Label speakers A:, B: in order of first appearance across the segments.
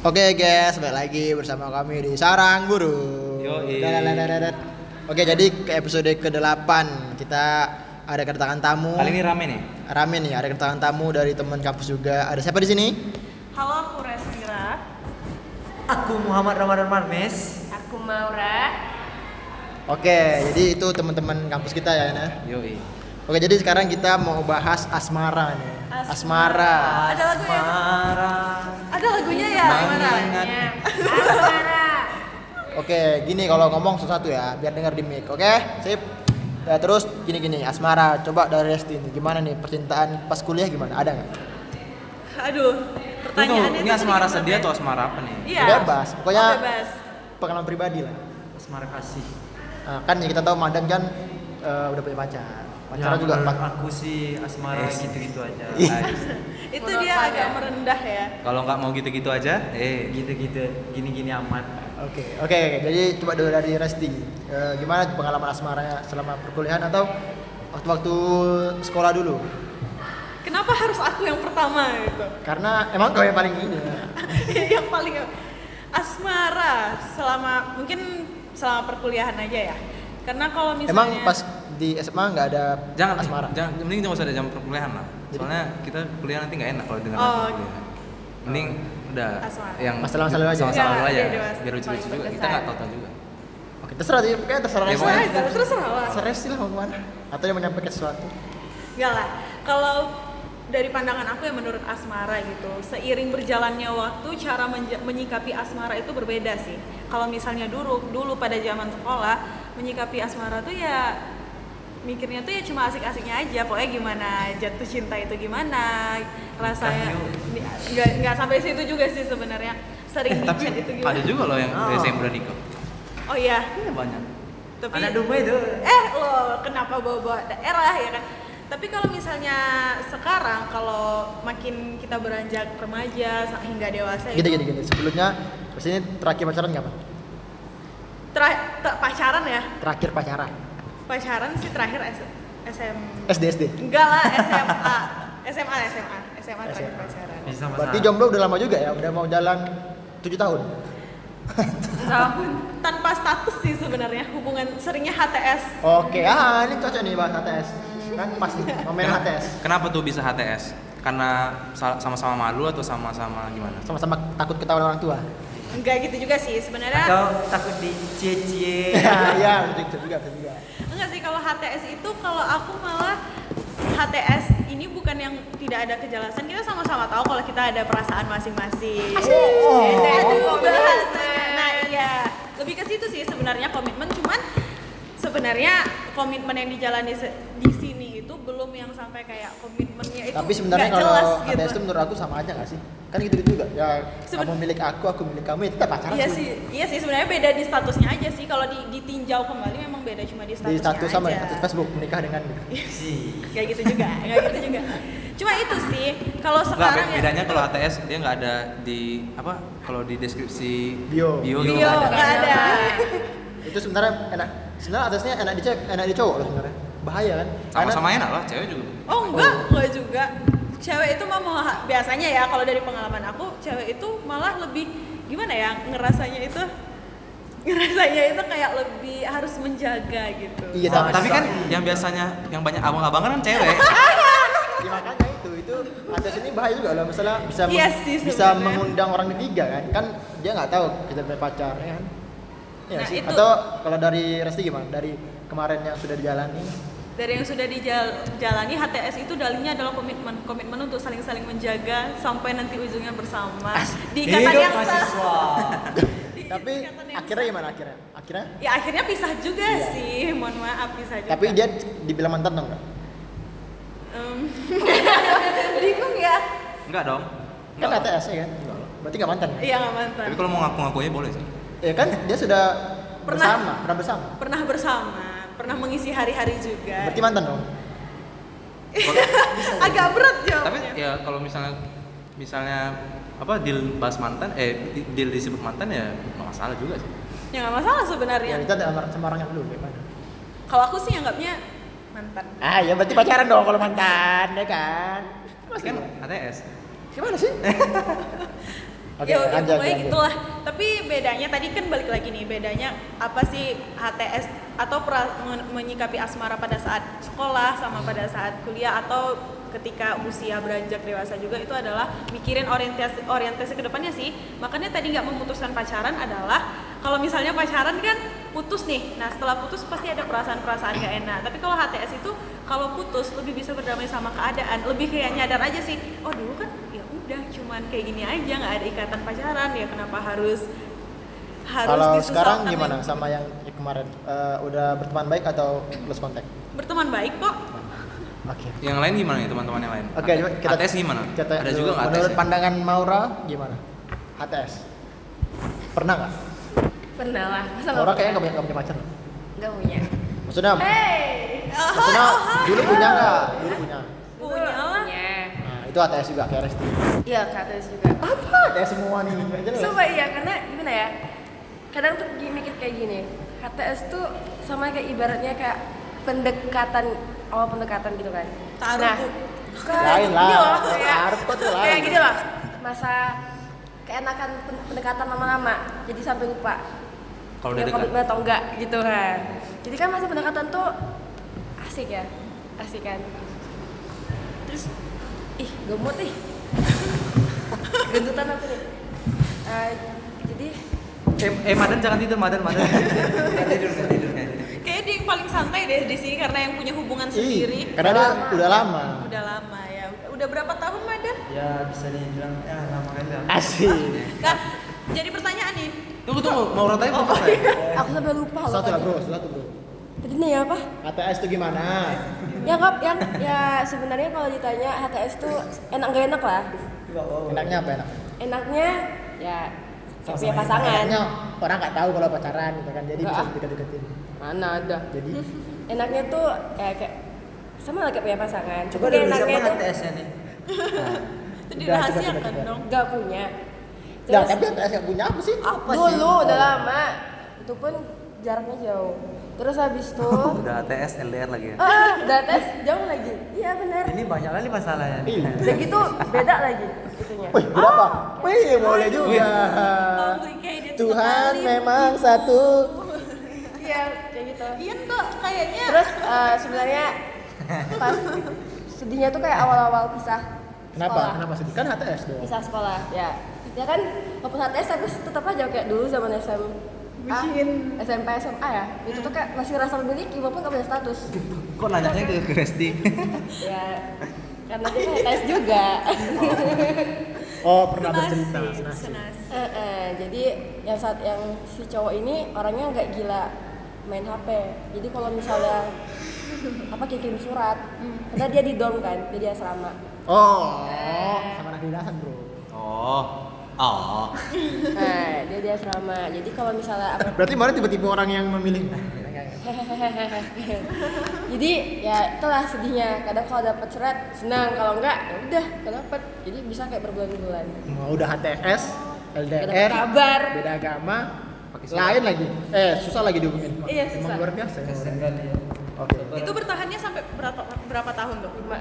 A: Oke guys, balik lagi bersama kami di Sarang Burung.
B: Yoi.
A: Dadadadadadad. Oke, jadi ke episode ke-8 kita ada kedatangan tamu.
B: Kali ini rame nih.
A: Rame nih, ada kedatangan tamu dari teman kampus juga. Ada siapa di sini?
C: Halo, aku Restira.
D: Aku Muhammad Ramadan Marmes.
C: Aku Maura.
A: Oke, jadi itu teman-teman kampus kita ya, Nah.
B: Yoi.
A: Oke, jadi sekarang kita mau bahas asmara nih.
C: Asmara.
A: Asmara.
C: Ada lagu ya?
D: Asmara.
C: Ada lagunya ya?
D: Asmara.
C: Asmara.
A: Oke, gini kalau ngomong satu-satu ya, biar dengar di mic. Oke, sip. Ya, terus gini-gini, asmara. Coba dari Resti nih, gimana nih percintaan pas kuliah gimana? Ada nggak?
C: Aduh,
B: Ini,
C: pertanyaannya
B: ini
C: tuh
B: asmara
C: sedikit
B: sedih
C: banget.
B: atau asmara apa nih?
C: Iya.
A: Bebas, pokoknya-
C: Oh, bebas.
A: Pengalaman pribadi lah.
D: Asmara kasih.
A: Nah, kan ya kita tahu Madan kan eh, udah punya pacar. Pacarnya
D: Ya,
A: juga
D: menurut
A: pak-
D: aku sih Asmara gitu-gitu aja.
A: Iya.
C: Itu
E: Menurut
C: dia
E: saya.
C: agak merendah ya.
B: Kalau nggak mau gitu-gitu aja, eh
D: Gitu-gitu, gini-gini amat.
A: Oke, oke, oke. Jadi coba dulu dari Resti. Eh, gimana pengalaman asmaranya selama perkuliahan atau waktu-waktu sekolah dulu?
C: Kenapa harus aku yang pertama gitu?
A: Karena emang kau yang paling ini.
C: yang paling asmara selama mungkin selama perkuliahan aja ya. Karena kalau misalnya
A: Emang pas di SMA nggak ada
B: jangan eh,
A: asmara.
B: Jangan, mending jangan usah ada jam perkuliahan lah.
A: Jadi-
B: Soalnya kita kuliah nanti nggak enak kalau dengar
C: Oh,
B: jam
C: oke.
B: perkuliahan. Mending udah
C: Asmara.
B: yang
A: Masalah-masalah dulu aja.
B: Masalah dulu
C: Iya,
B: aja.
C: iya, dewasa.
B: Biar lucu-lucu juga.
C: Paling
B: Kita
C: berkesan.
B: nggak tahu-tahu juga.
A: Oke, terserah sih. Pokoknya terserah
B: Ya,
A: Resti.
B: pokoknya-
C: terus terus
A: Terserah Resti lah mau kemana. Atau dia menyampaikan sesuatu.
C: Enggak lah. Kalau dari pandangan aku ya menurut asmara gitu, seiring berjalannya waktu cara menja- menyikapi asmara itu berbeda sih. Kalau misalnya dulu dulu pada zaman sekolah menyikapi asmara tuh ya mikirnya tuh ya cuma asik-asiknya aja, pokoknya gimana jatuh cinta itu gimana, rasanya nggak nggak sampai situ juga sih sebenarnya. Sering gitu.
B: Eh, tapi
C: di-chat itu gimana?
B: ada juga loh yang dari
D: Oh.
B: SMP udah nikah.
C: Oh iya,
B: Iya banyak.
C: tapi
D: Anak domba itu.
C: eh lo kenapa bawa-bawa daerah ya kan tapi kalau misalnya sekarang kalau makin kita beranjak remaja sa- hingga dewasa
A: Gitu, gitu,
C: itu
A: gitu. Sebelumnya, terus ini terakhir pacaran nggak, Pak?
C: tera- te- pacaran ya
A: Terakhir pacaran.
C: pacaran sih terakhir S- SM
A: SD, SD.
C: enggak lah SMA SMA SMA SMA terakhir
A: SMA.
C: pacaran
D: Bisa masalah.
A: Berarti jomblo udah lama juga ya, udah mau jalan 7 tahun.
C: tahun tanpa status sih sebenarnya hubungan seringnya HTS
A: Oke, ah ini cocok nih bahas HTS. Kan pas nih, momen
C: Ya.
B: Kenapa-
A: HTS.
B: Kenapa tuh bisa HTS? Karena sa- sama-sama malu atau sama-sama gimana?
A: Sama-sama takut ketahuan orang tua.
C: enggak gitu juga sih sebenarnya
D: Atau takut dicie-cie.
A: Iya, iya, betul juga, betul juga.
C: Enggak sih kalau HTS itu kalau aku malah HTS ini bukan yang tidak ada kejelasan. Kita sama-sama tahu kalau kita ada perasaan masing-masing.
A: Oh.
C: Beda itu
E: Oh.
C: pembahasan. Nah, iya. Lebih ke situ sih sebenarnya komitmen cuman sebenarnya komitmen yang dijalani se- di sini itu belum yang sampai kayak komitmennya itu
A: Tapi sebenarnya
C: nggak
A: kalau
C: jelas
A: HTS itu
C: gitu.
A: menurut aku sama aja gak sih? Kan gitu-gitu juga. Ya,
C: Seben-
A: kamu milik aku, aku milik kamu, ya tetap pacaran
C: Iya
A: cuy.
C: sih, iya sih sebenarnya beda di statusnya aja sih. Kalau di- ditinjau kembali memang beda cuma di
A: Di
C: statusnya
A: status sama
C: aja. Iya.
A: ya, status Facebook menikah dengan gitu.
D: Si.
C: Gak gitu juga, gak gitu juga. Cuma itu sih, kalau
B: Enggak,
C: sekarang ya-
B: be- bedanya kalau HTS dia nggak ada di apa? Kalau di deskripsi
A: Bio.
B: bio,
C: Bio,
B: gitu nggak ada.
C: nggak Iya, ada.
A: Itu sebenarnya enak. Sebenarnya atasnya enak dicek, enak di cowok loh sebenarnya. Bahaya kan? Karena-
B: Sama-sama enak lah, cewek juga.
C: Oh enggak, enggak juga. Cewek itu mah mau biasanya ya kalau dari pengalaman aku, cewek itu malah lebih gimana ya ngerasanya itu ngerasanya itu kayak lebih harus menjaga gitu.
A: Iya,
B: Ta- tapi
A: sama-
B: kan yang biasanya yang banyak abang-abang kan cewek.
A: Ya, makanya itu itu ada sini bahaya juga loh misalnya bisa
C: Iya
A: meng-
C: sih,
A: bisa
C: sebenarnya.
A: mengundang orang ketiga kan kan dia nggak tahu kita punya pacar ya kan ya
C: Nah,
A: sih
C: itu-
A: atau kalau dari Resti gimana dari kemarin yang sudah dijalani
C: Dari yang sudah dijalani HTS itu dalihnya adalah komitmen, komitmen untuk saling-saling menjaga sampai nanti ujungnya bersama. Di ikatan
D: Hidup
C: yang sah.
D: mahasiswa.
C: Di
A: tapi
C: ikatan yang
A: akhirnya
C: sah.
A: gimana akhirnya akhirnya
C: Ya akhirnya pisah juga
A: Iya.
C: sih, mohon maaf pisah juga.
A: tapi dia dibilang mantan dong kan? nggak?
C: Em, bingung ya?
B: Enggak dong.
A: kan
B: Enggak.
A: ATS ya kan berarti nggak mantan kan
C: Iya nggak mantan.
B: Tapi kalau mau ngaku-ngakunya boleh sih.
A: ya kan dia sudah
C: Pernah.
A: bersama pernah bersama
C: Pernah bersama, pernah mengisi hari-hari juga.
A: berarti mantan dong
C: Agak berat
B: Tapi
C: jawabnya.
B: ya kalau misalnya misalnya apa deal bahas mantan eh di- deal disebut mantan ya nggak masalah juga sih.
C: Ya nggak masalah
A: ya
C: sebenarnya.
A: kita sama sama orang yang dulu ya gimana
C: Kalau aku sih anggapnya mantan.
A: ah ya berarti pacaran dong kalau mantan ya kan
B: Kan HTS.
A: gimana sih Oke,
C: ya, ya,
A: lanjut,
C: pokoknya
A: lanjut.
C: gitulah. Tapi bedanya tadi kan balik lagi nih bedanya apa sih HTS atau pera- men- menyikapi asmara pada saat sekolah sama pada saat kuliah atau ketika usia beranjak dewasa juga itu adalah mikirin orientasi orientasi kedepannya sih. Makanya tadi nggak memutuskan pacaran adalah kalau misalnya pacaran kan putus nih. Nah setelah putus pasti ada perasaan-perasaan gak enak. Tapi kalau HTS itu kalau putus lebih bisa berdamai sama keadaan. Lebih kayak nyadar aja sih. Oh dulu kan ya udah cuman kayak gini aja nggak ada ikatan pacaran ya kenapa harus harus
A: Kalau
C: disusahkan
A: sekarang
C: ya?
A: gimana sama yang kemarin? Eh, udah berteman baik atau close contact?
C: berteman baik kok
A: Oke.
B: Yang lain gimana nih teman-teman yang lain?
A: Oke, coba kita
B: HTS gimana?
A: kita-
B: Ada juga nggak ya? HTS?
A: Menurut pandangan Maura gimana? HTS. Pernah nggak?
E: Pernah lah. Masa
A: Maura
E: nggak pernah?
A: kayaknya nggak punya nggak punya pacar.
E: Nggak punya.
A: Maksudnya,
C: Eh,
E: Hey.
C: oh,
A: maksudnya nah, dulu punya nggak? Dulu punya.
C: punya lah
E: Punya.
A: Nah, itu HTS juga kayak Resti.
E: Iya, KTS juga.
A: Apa? HTS semua nih, nggak jelas.
E: Sumpah iya, karena gimana ya? Kadang tuh gini mikir kayak gini. HTS tuh sama kayak ibaratnya kayak pendekatan awal pendekatan gitu kan.
C: Taruh,
E: Nah,
C: Bu.
E: bukan.
A: Lain lah.
E: Gini loh, kayak-
A: Taruh tuh lain.
E: Kayak gini loh. Masa keenakan pen- pendekatan lama-lama jadi sampai lupa
B: Kalau udah
E: dia
B: dekat.
E: komitmen atau enggak gitu kan. Jadi kan masa pendekatan tuh asik ya. Asik kan. Terus ih gemuk ih. Gendutan aku nih. Eh, jadi
B: Eh, eh Madan jangan tidur Madan Madan. Nggak tidur nggak tidur nggak tidur.
C: kayak dia yang paling santai deh di sini karena yang punya hubungan
A: Ih,
C: sendiri
A: karena dia udah lama.
C: udah lama ya udah berapa tahun Madan
D: ya bisa dibilang ya lama kali lah
A: Asik.
C: Nah, jadi pertanyaan nih
B: Tunggu tunggu mau ratanya mau ratanya.
E: aku sampai lupa loh.
A: Satu lah
E: tadi.
A: bro, satu bro.
E: Tadi nih ya, apa?
A: HTS itu gimana?
E: Ya kap, yang ya sebenarnya kalau ditanya HTS tuh enak gak enak lah.
A: Enaknya apa enak?
E: Enaknya ya punya pasangan.
A: Enaknya orang nggak tahu kalau pacaran gitu kan, jadi
E: Nggak
A: bisa
E: ah.
A: deket-deketin.
E: Mana ada. Hmm.
A: Jadi
E: Enaknya tuh ya kayak sama lah kayak punya pasangan.
D: coba
E: Tapi
D: dulu siapa
E: enaknya tuh
D: HTS-nya nih
C: itu
A: Udah,
C: dirahasiakan
A: coba, coba,
C: dong
E: gak punya.
A: Nah, tapi HTS nggak punya apa sih?
E: apa dulu udah lama. Itu pun jaraknya jauh. Terus habis itu
B: Oh. Udah ATS LDR lagi ya.
E: ah, udah tes jauh lagi. Iya benar.
D: ini banyak kali masalahnya
A: Ih.
B: Iya.
E: Udah gitu beda lagi itunya.
A: Wih, berapa?
E: Ah.
A: Wih, boleh juga.
C: Complicated
A: Tuhan
C: sekali.
A: memang satu.
E: Iya, kayak gitu.
C: Ian kok kayaknya
E: Terus eh, sebenarnya pas sedihnya tuh kayak awal-awal pisah.
A: Kenapa?
E: sekolah.
A: Kenapa sedih? Kan HTS dong.
E: Pisah sekolah, ya. Ya kan walaupun HTS tapi tetap aja kayak dulu zaman SM.
C: Bucin.
E: SMP SMA ya itu tuh kayak masih rasa memiliki walaupun gak punya status
B: Kok nanyanya ke ke Resti?
E: ya karena dia HTS juga
A: Oh, pernah
C: senasib,
A: bercerita. senasib.
C: senasib.
E: Eh, eh, jadi yang saat yang si cowok ini orangnya nggak gila main HP jadi kalau misalnya apa kayak kirim surat karena dia di dorm kan dia di asrama
A: Oh, sama anak didasan, Bro.
B: Oh. Oh.
E: nah dia di asrama jadi kalau misalnya apa
A: Berarti mana tiba-tiba orang yang memilih?
E: jadi ya itulah sedihnya kadang kalau dapat surat senang kalau enggak ya udah nggak dapat jadi bisa kayak berbulan-bulan
A: Mau udah HTS,
E: Nggak dapet
A: LDR,
E: kabar
A: beda agama,
B: Pakai surat.
A: lain lagi. Eh, susah lagi dihubungin.
E: Iya, susah.
A: Emang luar biasa. ya orang.
D: kesen kali ya
A: Oke.
C: itu bertahannya sampai berapa berapa tahun tuh
E: Cuma,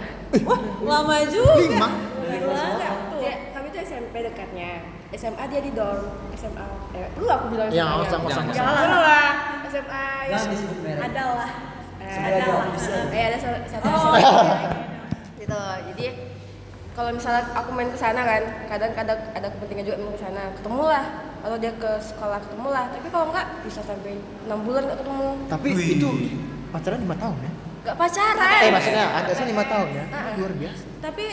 C: wah lama juga
A: Lima?
C: Gila, nggak tuh
E: dia- kami tuh SMP dekatnya SMA dia di dorm SMA eh, lu aku bilang
A: Yang
E: SMA -nya.
A: kosong-kosong.
B: Yang
E: Jangan lah SMA ya.
D: nah disebut merek
C: adalah
E: Eh,
D: Sebenarnya
E: ada
D: ada
E: lah.
D: official.
E: Eh, ada satu satu-
C: Oh.
E: satu- gitu. Jadi kalau misalnya aku main ke sana kan, kadang-kadang ada kepentingan juga main ke sana. Ketemulah kalau dia ke sekolah ketemulah, tapi kalau enggak bisa sampai 6 bulan enggak ketemu.
A: Tapi
B: Wih.
A: itu pacaran 5 tahun ya?
E: Enggak pacaran.
A: Eh, maksudnya HTS-nya 5 tahun ya?
E: Ah.
A: Luar biasa.
C: Tapi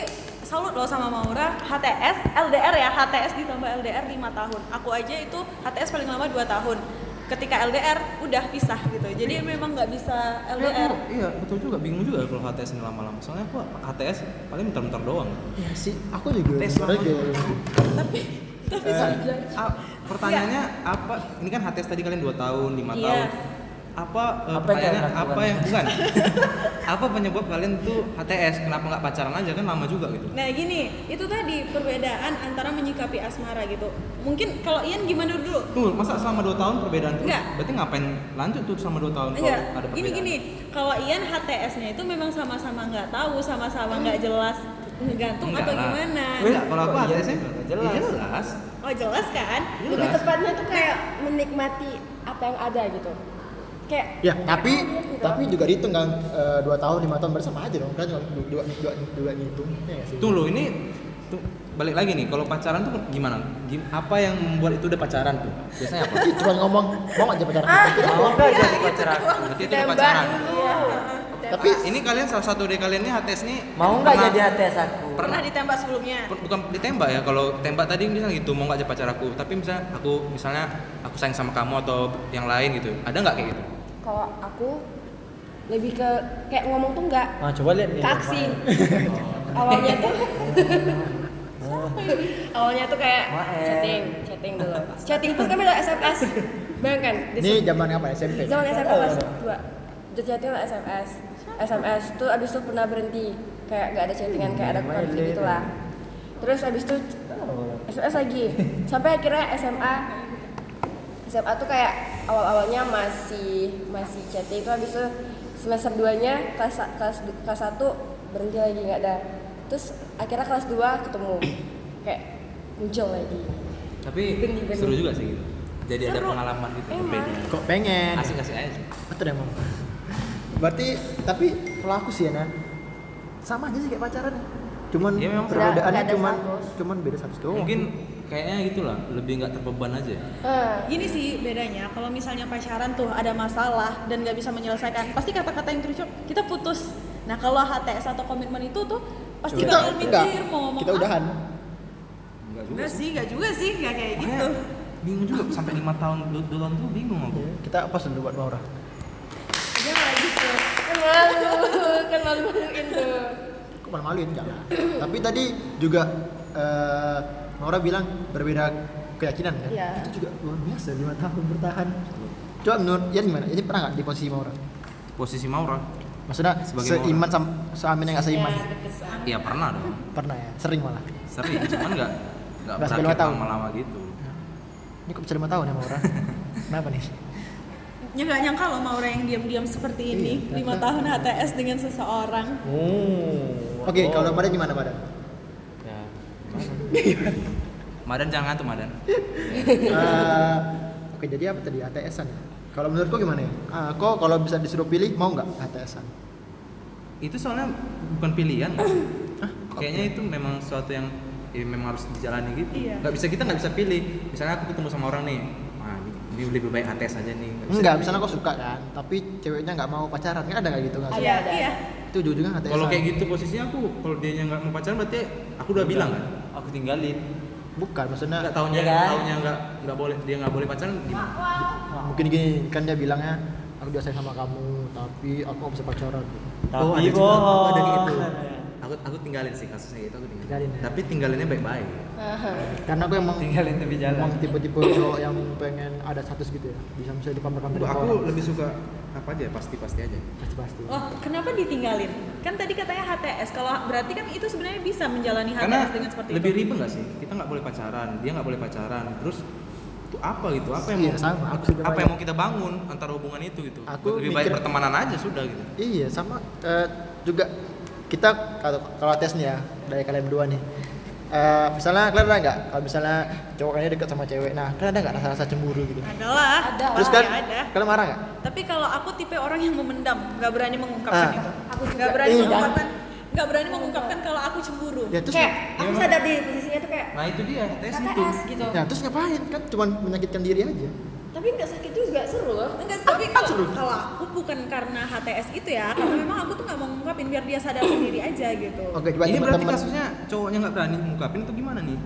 C: salut loh sama Maura, HTS, LDR ya, HTS ditambah LDR 5 tahun. Aku aja itu HTS paling lama 2 tahun. Ketika LDR udah pisah gitu. Jadi memang nggak bisa LDR.
B: Iya, betul juga. Bingung juga kalau HTS ini lama-lama. Soalnya aku HTS paling bentar-bentar doang.
A: Iya sih, aku juga.
B: Tes
A: sebenarnya
B: lama.
A: juga.
C: Tapi tapi
A: Eh.
C: sudah.
B: Ah, pertanyaannya apa? Ini kan HTS tadi kalian 2 tahun, 5
C: Iya.
B: tahun. Apa, eh,
D: Apa yang
B: pertanyaannya
D: kalian lakukan?
B: apa yang bukan? apa penyebab kalian tuh HTS? Kenapa nggak pacaran aja kan lama juga gitu?
C: Nah gini, itu tadi perbedaan antara menyikapi asmara gitu. Mungkin kalau Ian gimana dulu?
B: Tuh, masa selama 2 tahun perbedaan terus?
C: Nggak. Iya.
B: Berarti ngapain lanjut tuh selama 2 tahun
C: Enggak,
B: kalau ada perbedaan?
C: ini gini, kalau Ian HTS-nya itu memang sama-sama nggak tahu, sama-sama nggak jelas gantung
B: Enggak
C: atau
B: lah.
C: gimana?
B: Enggak, kalau aku
D: Oh, iya,
B: ATS-nya
D: enggak
B: jelas.
D: jelas.
B: jelas.
C: Oh jelas kan?
E: lebih tepatnya tuh kayak menikmati apa yang ada gitu kayak
A: Ya, tapi
E: Gitu.
A: tapi juga dihitung kan eh, dua tahun lima tahun bersama aja dong kan dua dua dua dua ngitung ya nggak sih.
B: Tuh loh ini tuh, balik lagi nih kalau pacaran tuh gimana? Gim- apa yang membuat itu udah pacaran tuh? Biasanya apa?
A: Cuma ngomong mau aja pacaran.
D: Mau nggak jadi pacar aku?
B: Berarti itu udah
E: tembak
B: pacaran.
E: dulu
A: tapi
B: Ini kalian salah satu dari kalian ini HTS nih
D: Mau nggak
B: pernah-
D: jadi HTS aku?
B: Pernah.
C: Pernah ditembak sebelumnya?
B: per- bukan ditembak ya kalau tembak tadi misalnya gitu mau nggak jadi pacar aku tapi misalnya aku misalnya aku sayang sama kamu atau yang lain gitu ada nggak kayak gitu
E: kalau aku lebih ke kayak ngomong tuh enggak
A: Ah,
D: Nah, coba lihat nih.
E: ke aksi awalnya tuh awalnya tuh kayak
D: Maaf.
E: chatting chatting dulu chatting pun kan kami udah SMS bayangkan di
A: ini zaman apa SMP?
E: zaman SMP kelas dua udah chatting udah SMS SMS tuh abis itu pernah berhenti kayak nggak ada chattingan kayak ada konflik gitu lah terus abis itu SMS lagi sampai akhirnya SMA SMA tuh kayak awal-awalnya masih masih chatting itu habis itu semester 2 nya kelas kelas kelas 1 berhenti lagi nggak ada terus akhirnya kelas 2 ketemu kayak muncul lagi
B: tapi
E: Bening, bening.
B: seru juga sih gitu jadi ada
E: Seru.
B: pengalaman gitu
E: Emang.
B: berbeda
A: Kok pengen?
B: asik asik aja sih.
A: Betul ya Mom? Berarti tapi kalau aku sih ya Nan, sama aja sih kayak pacaran ya. Cuman
B: Iya, memang.
A: perbedaannya
E: Nggak- nggak ada
A: cuman
E: status.
A: cuman beda status doang.
B: mungkin kayaknya gitulah lebih nggak terbeban aja ya.
E: Eh,
C: Gini sih bedanya, kalau misalnya pacaran tuh ada masalah dan nggak bisa menyelesaikan, pasti kata-kata yang terucap kita putus. Nah kalau HTS atau komitmen itu tuh pasti
A: kita
C: bakal
A: enggak.
C: mikir mau ngomong
A: Kita
C: apa.
A: udahan.
B: nggak juga
C: Enggak
B: sih
C: sih, enggak juga sih, enggak kayak
B: Makanya
C: gitu.
B: Iya. bingung juga sampai lima tahun dua dua tahun tuh bingung aku
A: Kita pas dulu buat Laura.
C: Dia kayak gitu.
E: kan malu kan malu maluin tuh
A: Kok malah maluin jangan. tapi tadi juga eh, Laura bilang berbeda keyakinan kan.
E: Iya.
A: Itu juga luar biasa 5 tahun bertahan. Coba menurut Ian gimana? Ini pernah nggak di posisi Laura?
B: posisi Maura
A: Maksudnya
B: Sebagai
A: seiman sama seamin yang nggak
C: Iya,
A: seiman.
E: Ya, berkesan.
B: iya pernah dong
A: Pernah ya, sering malah.
B: sering cuman nggak nggak
A: Nggak sampai
B: berakhir
A: lima tahun.
B: lama-lama gitu
A: Ini kok bisa 5 tahun ya Laura? Kenapa nih?
C: Ya nggak nyangka loh Maura yang diam-diam seperti ini,
A: Iya,
C: lima
A: ternyata.
C: tahun HTS dengan seseorang.
D: Oh.
A: Oke, kalau Madan gimana Madan?
D: Ya.
B: Madan jangan tuh Madan
A: Eh, Oke, jadi apa tadi ATS-an ya? Kalau menurut kau gimana ya? Ah, kau kalau bisa disuruh pilih mau nggak ATS-an?
B: itu soalnya bukan pilihan nggak sih? kayaknya itu memang suatu yang ya, memang harus dijalani gitu
C: Iya.
B: nggak bisa kita nggak bisa pilih misalnya aku ketemu sama orang nih ah ini- ini lebih baik ates aja nih Nggak bisa
A: Enggak,
B: pilih.
A: misalnya kau suka kan, tapi ceweknya nggak mau pacaran kan ada nggak gitu nggak? sih?
E: Ada, ada.
C: Iya.
A: Itu ujung-ujungnya ATS.
B: kalau kayak gitu posisinya aku kalau dia nggak mau pacaran berarti aku udah bilang kan
D: Aku tinggalin.
A: Bukan, maksudnya
B: nggak tahunya
D: Iya kan?
B: tahunya nggak nggak boleh dia nggak boleh pacaran gimana
A: ah, mungkin gini kan dia bilangnya aku udah sayang sama kamu, tapi aku nggak bisa pacaran.
D: Tapi
B: Oh, ada juga-
D: bohong.
B: ada kayak gitu aku aku tinggalin sih kasusnya gitu aku tinggalin,
A: Tinggalin ya.
B: tapi tinggalinnya baik-baik
A: Karena aku emang
D: Tinggalin tepi jalan.
A: emang tipe-tipe cowok yang pengen ada status gitu ya, bisa bisa dipamer-pamerin. ke
B: aku
A: orang.
B: lebih suka apa aja ya? pasti-pasti aja
A: pasti pasti.
C: Oh, kenapa ditinggalin? Kan tadi katanya HTS. Kalau berarti kan itu sebenarnya bisa menjalani HTS
B: karena
C: dengan seperti
B: lebih
C: itu.
B: ribet nggak sih kita nggak boleh pacaran dia nggak boleh pacaran terus itu apa gitu apa yang
A: Iya,
B: mau
A: sama. Aku juga
B: apa yang
A: banyak.
B: mau kita bangun antara hubungan itu gitu
A: Aku
B: lebih baik
A: mikir-
B: pertemanan aja sudah gitu
A: Iya sama eh, juga kita kalau kalau tes nih ya dari kalian berdua nih. Eh, misalnya kalian ada nggak kalau misalnya cowok kalian dekat sama cewek, nah kalian ada nggak rasa-rasa cemburu gitu?
C: Adalah.
E: Ada.
A: Terus
C: pasti
A: kan
C: ada.
A: kalian marah nggak?
C: Tapi kalau aku tipe orang yang memendam, nggak berani
A: Ah.
C: mengungkapkan itu.
E: Aku juga.
C: nggak berani
A: Iya.
C: mengungkapkan, nggak berani mengungkapkan kalau aku cemburu.
A: Ya terus
E: kayak
B: Iya,
E: aku
B: Mak.
E: sadar diri posisinya tuh kayak
B: nah itu dia tes itu
E: KKS gitu
A: ya terus ngapain kan cuman menyakitkan diri aja.
E: tapi nggak sakit juga seru loh
C: Enggak, tapi kalau kalau aku bukan karena HTS itu ya, karena memang aku tuh nggak mau ngungkapin biar dia sadar sendiri aja gitu.
A: Oke, coba
B: ini berarti
A: teman-teman.
B: kasusnya cowoknya nggak berani ngungkapin atau gimana nih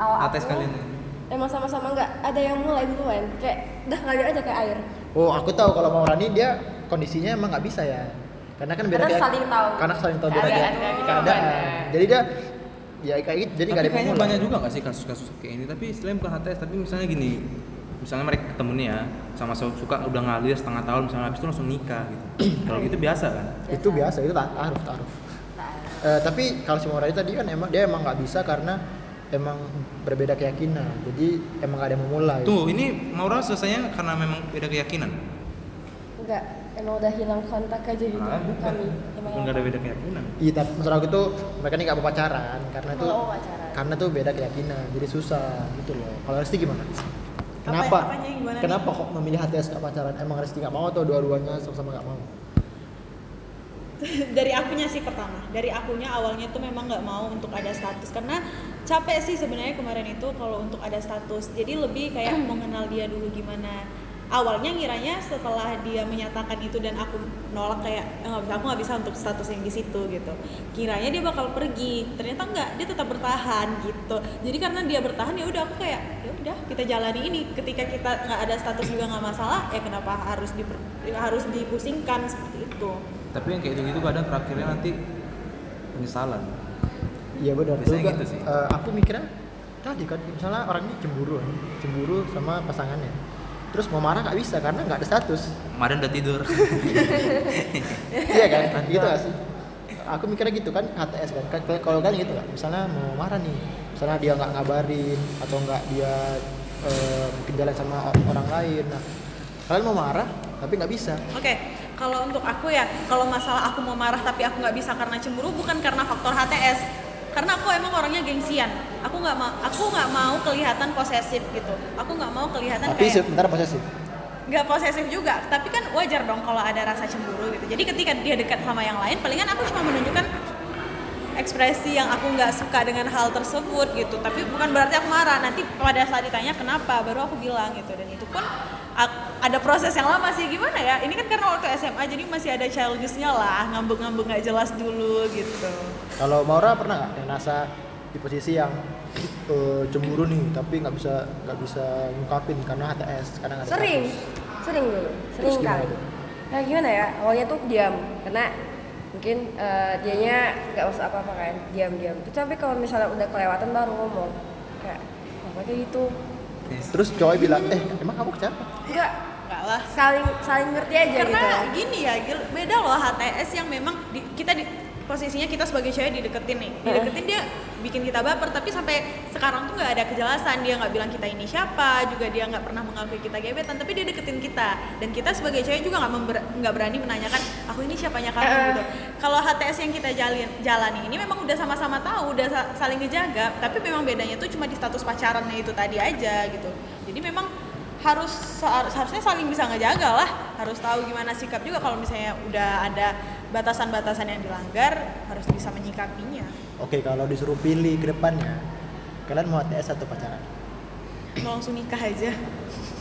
E: awal
B: atas
E: aku,
B: kalian ya? ini.
E: emang sama-sama nggak ada yang mulai duluan kayak dah ngalir aja kayak air
A: Oh, aku tahu kalau mau Rani dia kondisinya emang nggak bisa ya. Karena kan beda
E: Karena
A: kayak-
E: saling tahu.
A: Karena saling tahu beda
E: Keadaan
A: kayak-
E: kayak gimana.
A: keadaan. Jadi dia ya kayak gitu. Jadi nggak
B: tapi
A: ada yang
B: kayaknya
A: mau
B: banyak juga nggak sih kasus-kasus kayak ini tapi istilahnya bukan HTS tapi misalnya gini misalnya mereka ketemu nih ya sama so- suka udah ngalir setengah tahun misalnya habis itu langsung nikah gitu kalau gitu biasa kan
A: itu biasa itu tak taruh taruh
C: Nah.
A: Eh, tapi kalau si Maurani tadi kan emang dia emang nggak bisa karena emang berbeda keyakinan jadi emang gak ada yang memulai
B: tuh ini Maura selesainya karena memang beda keyakinan
E: enggak emang udah hilang kontak aja gitu
B: Nah, bukan.
E: kami emang
B: Bukan nggak ada beda keyakinan.
A: Iya, tapi masalah aku tuh mereka ini nggak mau pacaran karena tuh
E: Kalau mau pacaran.
A: karena tuh beda keyakinan, jadi susah gitu loh. Kalau Resti gimana?
C: Apa- ya,
A: Kenapa?
C: apanya yang gimana nih?
A: Kenapa kok memilih HTS nggak pacaran? Emang Resti nggak mau atau dua-duanya sama-sama nggak mau?
C: dari akunya sih pertama dari akunya awalnya tuh memang nggak mau untuk ada status karena capek sih sebenarnya kemarin itu kalau untuk ada status jadi lebih kayak mengenal dia dulu gimana awalnya ngiranya setelah dia menyatakan itu dan aku nolak kayak "Eh, nggak bisa aku nggak bisa untuk status yang di situ gitu kiranya dia bakal pergi ternyata nggak dia tetap bertahan gitu jadi karena dia bertahan ya udah aku kayak ya udah kita jalani ini ketika kita nggak ada status juga nggak masalah ya kenapa harus diper, harus dipusingkan seperti itu
B: Tapi yang kayak gitu kadang terakhirnya nanti penyesalan.
A: Iya benar
B: Biasanya
A: juga.
B: gitu sih.
A: Eh, aku mikirnya tadi kan misalnya orang ini cemburu, kan. cemburu sama pasangannya. Terus mau marah nggak bisa karena nggak ada status.
B: Kemarin udah tidur.
A: iya kan gitu gak sih aku mikirnya gitu kan HTS kan Kan- kalau kan gitu kan misalnya mau marah nih misalnya dia nggak ngabarin atau nggak dia eh, mungkin jalan sama o- orang lain nah kalian mau marah tapi nggak bisa
C: Oke, kalau untuk aku ya, kalau masalah aku mau marah tapi aku nggak bisa karena cemburu bukan karena faktor HTS, karena aku emang orangnya gengsian. Aku nggak mau, aku nggak mau kelihatan posesif gitu. Aku nggak mau
A: tapi
C: kelihatan Kan kayak
A: sebentar posesif
C: nggak posesif juga. Tapi kan wajar dong kalau ada rasa cemburu gitu. Jadi ketika dia dekat sama yang lain, palingan aku cuma menunjukkan ekspresi yang aku nggak suka dengan hal tersebut gitu. Tapi bukan berarti aku marah. Nanti pada saat ditanya kenapa, baru aku bilang gitu. Dan itu pun ak- ada proses yang lama sih gimana ya ini kan karena waktu SMA jadi masih ada childish-nya lah ngambek-ngambek nggak jelas dulu gitu
A: kalau Maura pernah nggak yang nasa di posisi yang eh, cemburu nih tapi nggak bisa nggak bisa ngungkapin karena HTS karena nggak ada
E: sering
A: status?
E: sering dulu
A: Terus
E: sering
A: gimana
E: kali
A: tuh?
E: nah gimana ya awalnya tuh diam karena mungkin eh, dianya nggak masuk apa-apa kan diam diam tuh tapi kalau misalnya udah kelewatan baru ngomong kayak apa kayak gitu
A: terus cowok bilang eh emang kamu kenapa
E: enggak
C: nggak lah
E: saling saling ngerti aja
C: karena
E: gitu
C: gini ya Gil, beda loh HTS yang memang di- kita di posisinya kita sebagai cewek dideketin nih dideketin dia bikin kita baper tapi sampai sekarang tuh nggak ada kejelasan dia nggak bilang kita ini siapa juga dia nggak pernah mengakui kita gebetan tapi dia deketin kita dan kita sebagai cewek juga nggak member- nggak berani menanyakan aku ini siapanya kamu
E: Eh.
C: gitu kalau HTS yang kita jalin jalani ini memang udah sama-sama tahu udah sa- saling ngejaga tapi memang bedanya tuh cuma di status pacarannya itu tadi aja gitu jadi memang harus sehar- seharusnya saling bisa ngejaga lah harus tahu gimana sikap juga kalau misalnya udah ada batasan-batasan yang dilanggar harus bisa menyikapinya
A: oke kalau disuruh pilih ke depannya kalian mau HTS atau pacaran
C: mau langsung nikah aja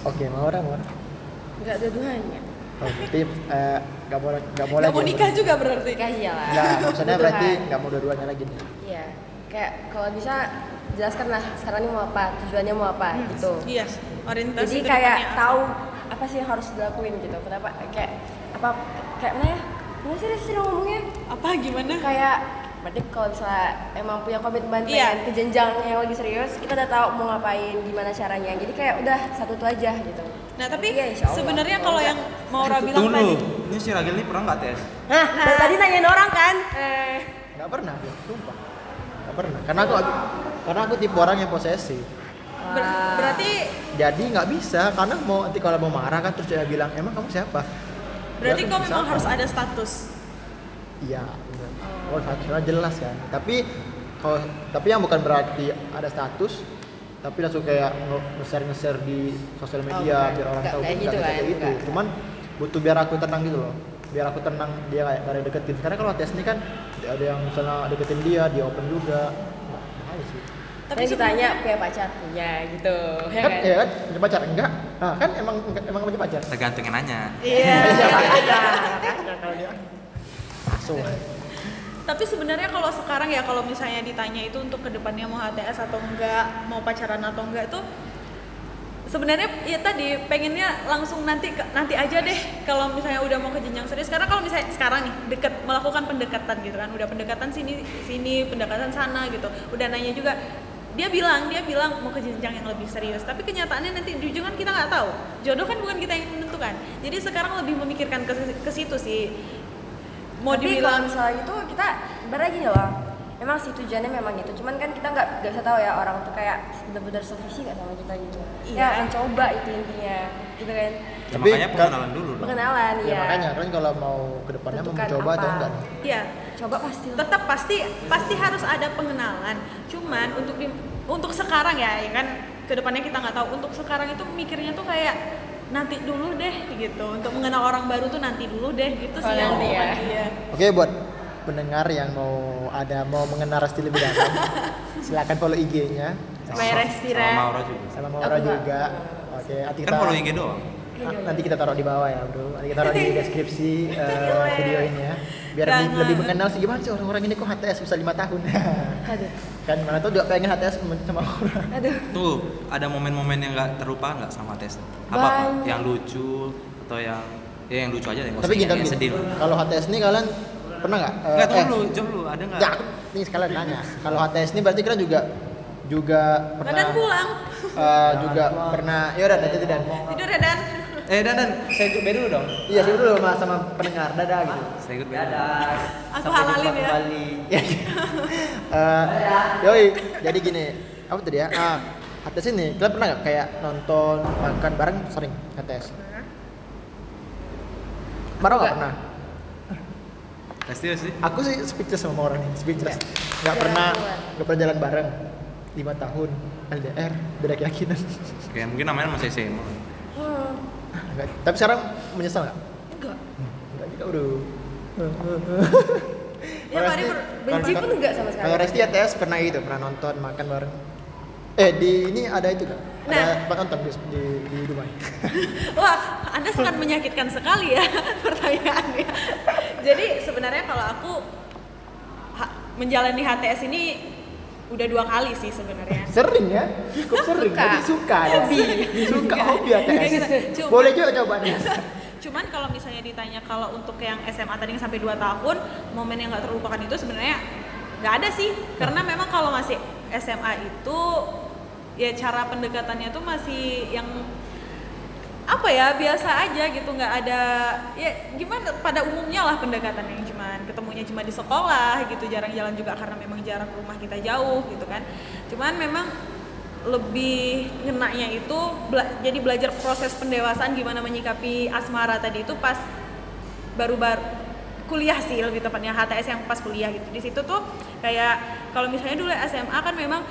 A: oke Maura Maura
E: enggak ada duanya
A: Oh, berarti eh, nggak boleh nggak boleh
C: nggak mau
A: gitu.
C: nikah juga berarti
E: nikah iyalah
A: Nggak, maksudnya
E: Kebutuhan.
A: berarti nggak mau dua-duanya lagi nih.
E: iya kayak kalau bisa jelaskan lah sekarang ini mau apa tujuannya mau apa gitu
C: iya orientasi
E: jadi
C: ke
E: kayak
C: depannya apa.
E: tahu apa sih yang harus dilakuin gitu kenapa kayak apa kayak mana ya gimana sih sih ngomongnya
C: apa gimana
E: kayak berarti kalau misalnya emang punya komitmen
C: Iya.
E: pengen ke jenjang yang lebih serius kita udah tahu mau ngapain gimana caranya jadi kayak udah satu itu aja gitu
C: nah tapi
E: Iya, insya Allah.
C: sebenarnya kalau yang Maura bilang
B: Tunggu
C: tadi
B: dulu. Ini si Ragil ini pernah nggak tes?
E: nah dari tadi nanyain orang kan eh,
A: Nggak pernah, ya, sumpah. Nggak pernah. Karena aku karena aku tipe orang yang posesif.
C: ber- berarti
A: Jadi nggak bisa karena mau nanti kalau mau marah kan terus dia bilang emang kamu siapa?
C: berarti
A: Dia
C: kau
A: tuh
C: memang
A: siapa?
C: harus ada status
A: Iya. bener. Oh, statusnya jelas kan. Tapi kalau tapi yang bukan berarti ada status tapi langsung kayak nge- nge-share-nge-share di sosial media
E: bukan.
A: biar orang
E: Nggak
A: tahu
E: kayak
A: kita
E: gitu
A: kayak
E: kan,
A: gitu.
E: nggak.
A: Cuman butuh biar aku tenang gitu loh. Biar aku tenang dia kayak gak ada yang deketin. Karena kalau tes ini kan ada yang misalnya deketin dia, dia open juga. Nah, bahaya sih.
E: tapi
C: tapi
E: ditanya punya pacar punya gitu ya
A: kan
E: kan
A: ya kan punya pacar enggak nah, kan emang enggak- emang punya pacar
B: Tergantung yang nanya.
E: Iya.
A: so
C: Tapi sebenarnya kalau sekarang ya kalau misalnya ditanya itu untuk kedepannya mau HTS atau enggak, mau pacaran atau enggak itu sebenarnya ya tadi pengennya langsung nanti ke- nanti aja deh kalau misalnya udah mau ke jenjang serius karena kalau misalnya sekarang nih deket melakukan pendekatan gitu kan udah pendekatan sini sini pendekatan sana gitu udah nanya juga dia bilang dia bilang mau ke jenjang yang lebih serius tapi kenyataannya nanti di ujung kan kita nggak tahu jodoh kan bukan kita yang menentukan jadi sekarang lebih memikirkan ke, ke situ sih mau
E: tapi
C: dibilang
E: kalau misalnya itu kita ibarat gini loh memang sih tujuannya memang gitu cuman kan kita nggak nggak bisa tahu ya orang tuh kayak bener-bener sevisi nggak sama kita gitu
C: Iya.
E: ya mencoba itu intinya gitu kan
B: Ya,
A: Tapi
B: makanya
A: kan-
B: pengenalan dulu dong.
E: pengenalan
A: Ya,
E: ya,
A: makanya kan kalau mau ke depannya mau
E: Tentukan
A: mencoba atau
E: apa.
A: enggak nih.
C: Iya,
E: coba pasti lah.
C: tetap pasti pasti harus ada pengenalan. Cuman untuk di, untuk sekarang ya, ya kan kedepannya kita nggak tahu. Untuk sekarang itu mikirnya tuh kayak nanti dulu deh gitu. Untuk mengenal orang baru tuh nanti dulu deh gitu sih
E: Oh,
C: yang
E: nanti ya.
C: Iya.
A: Oke buat pendengar yang mau ada mau mengenal Resti lebih dalam, silakan follow IG-nya
E: Maya Restira.
B: Sama Maura juga.
A: sama Maura
E: Aku enggak.
A: juga. Oke, nanti
B: Kan
A: kita
B: follow IG doang.
A: na- nanti kita taruh di bawah ya, Bro. Nanti kita taruh di deskripsi eh,
C: Gila.
A: video ini ya. Biar lebih,
C: Iya. Jangan.
A: lebih mengenal sih gimana sih orang-orang ini kok HTS bisa 5 tahun.
E: aduh
A: kan mana tuh juga pengen HTS sama orang.
E: aduh
B: Tuh, ada momen-momen yang nggak terlupakan nggak sama tes? Apa, apa
E: Banyak.
B: yang lucu atau yang ya yang lucu aja deh.
A: Tapi
B: nggak usah
A: gini,
B: yang
A: tapi
B: sedih.
A: gini. Kalau HTS ini kalian pernah nggak? eh,
B: Enggak tahu
A: eh,
B: lu, jawab lu, ada nggak?
A: Ya, aku ini sekalian nanya. Kalau HTS ini berarti kalian juga juga pernah
C: Badan Nah, pulang,
A: eh, juga pernah ya udah nanti dan
C: tidur ya dan
B: Eh, Dadan, saya ikut beda dulu dong.
A: iya sih dulu sama, sama pendengar dadah gitu.
B: Saya ikut beda.
D: Dadah. Sampai
C: Aku
D: jumpa
C: halalin ya.
D: kembali.
A: Ya. Eh, yoi, jadi gini, apa tadi ya? Ah, HTS ini kalian pernah nggak kayak nonton makan bareng sering HTS? Marah nggak pernah?
B: Pasti Eh, sih.
A: Aku sih speechless sama orang ini, speechless.
C: Iya.
A: Nggak
E: Jalan
A: pernah,
E: keluar.
A: nggak pernah jalan bareng. Lima tahun LDR, beda keyakinan.
B: Kayak mungkin namanya masih SMA.
E: hmm.
A: Nggak. Tapi sekarang menyesal nggak?
E: enggak
A: Enggak juga bro
C: Ya, Pak Ari ber-
E: benci pun enggak sama sekali.
A: Kalau Resti ATS pernah itu, pernah nonton, makan bareng Eh di ini ada itu gak? Ada
C: Nah.
A: tempat nonton di, di, di Dubai
C: Wah, Anda sangat menyakitkan sekali ya pertanyaannya. Jadi sebenarnya kalau aku ha- menjalani HTS ini udah dua kali sih sebenarnya.
A: Sering ya? Cukup sering,
E: Suka.
A: jadi suka ya Hobi Suka hobi ATS
C: Cuma-
A: Boleh juga coba ATS
C: Cuman kalau misalnya ditanya kalau untuk yang SMA tadi yang sampai 2 tahun, momen yang nggak terlupakan itu sebenarnya nggak ada sih. Karena memang kalau masih SMA itu ya cara pendekatannya tuh masih yang apa ya biasa aja gitu nggak ada ya gimana pada umumnya lah pendekatannya yang cuman ketemunya cuma di sekolah gitu jarang jalan juga karena memang jarak rumah kita jauh gitu kan cuman memang lebih ngenaknya itu bela- jadi belajar proses pendewasaan gimana menyikapi asmara tadi itu pas baru-baru kuliah sih lebih tepatnya HTS yang pas kuliah gitu di situ tuh kayak kalau misalnya dulu SMA kan memang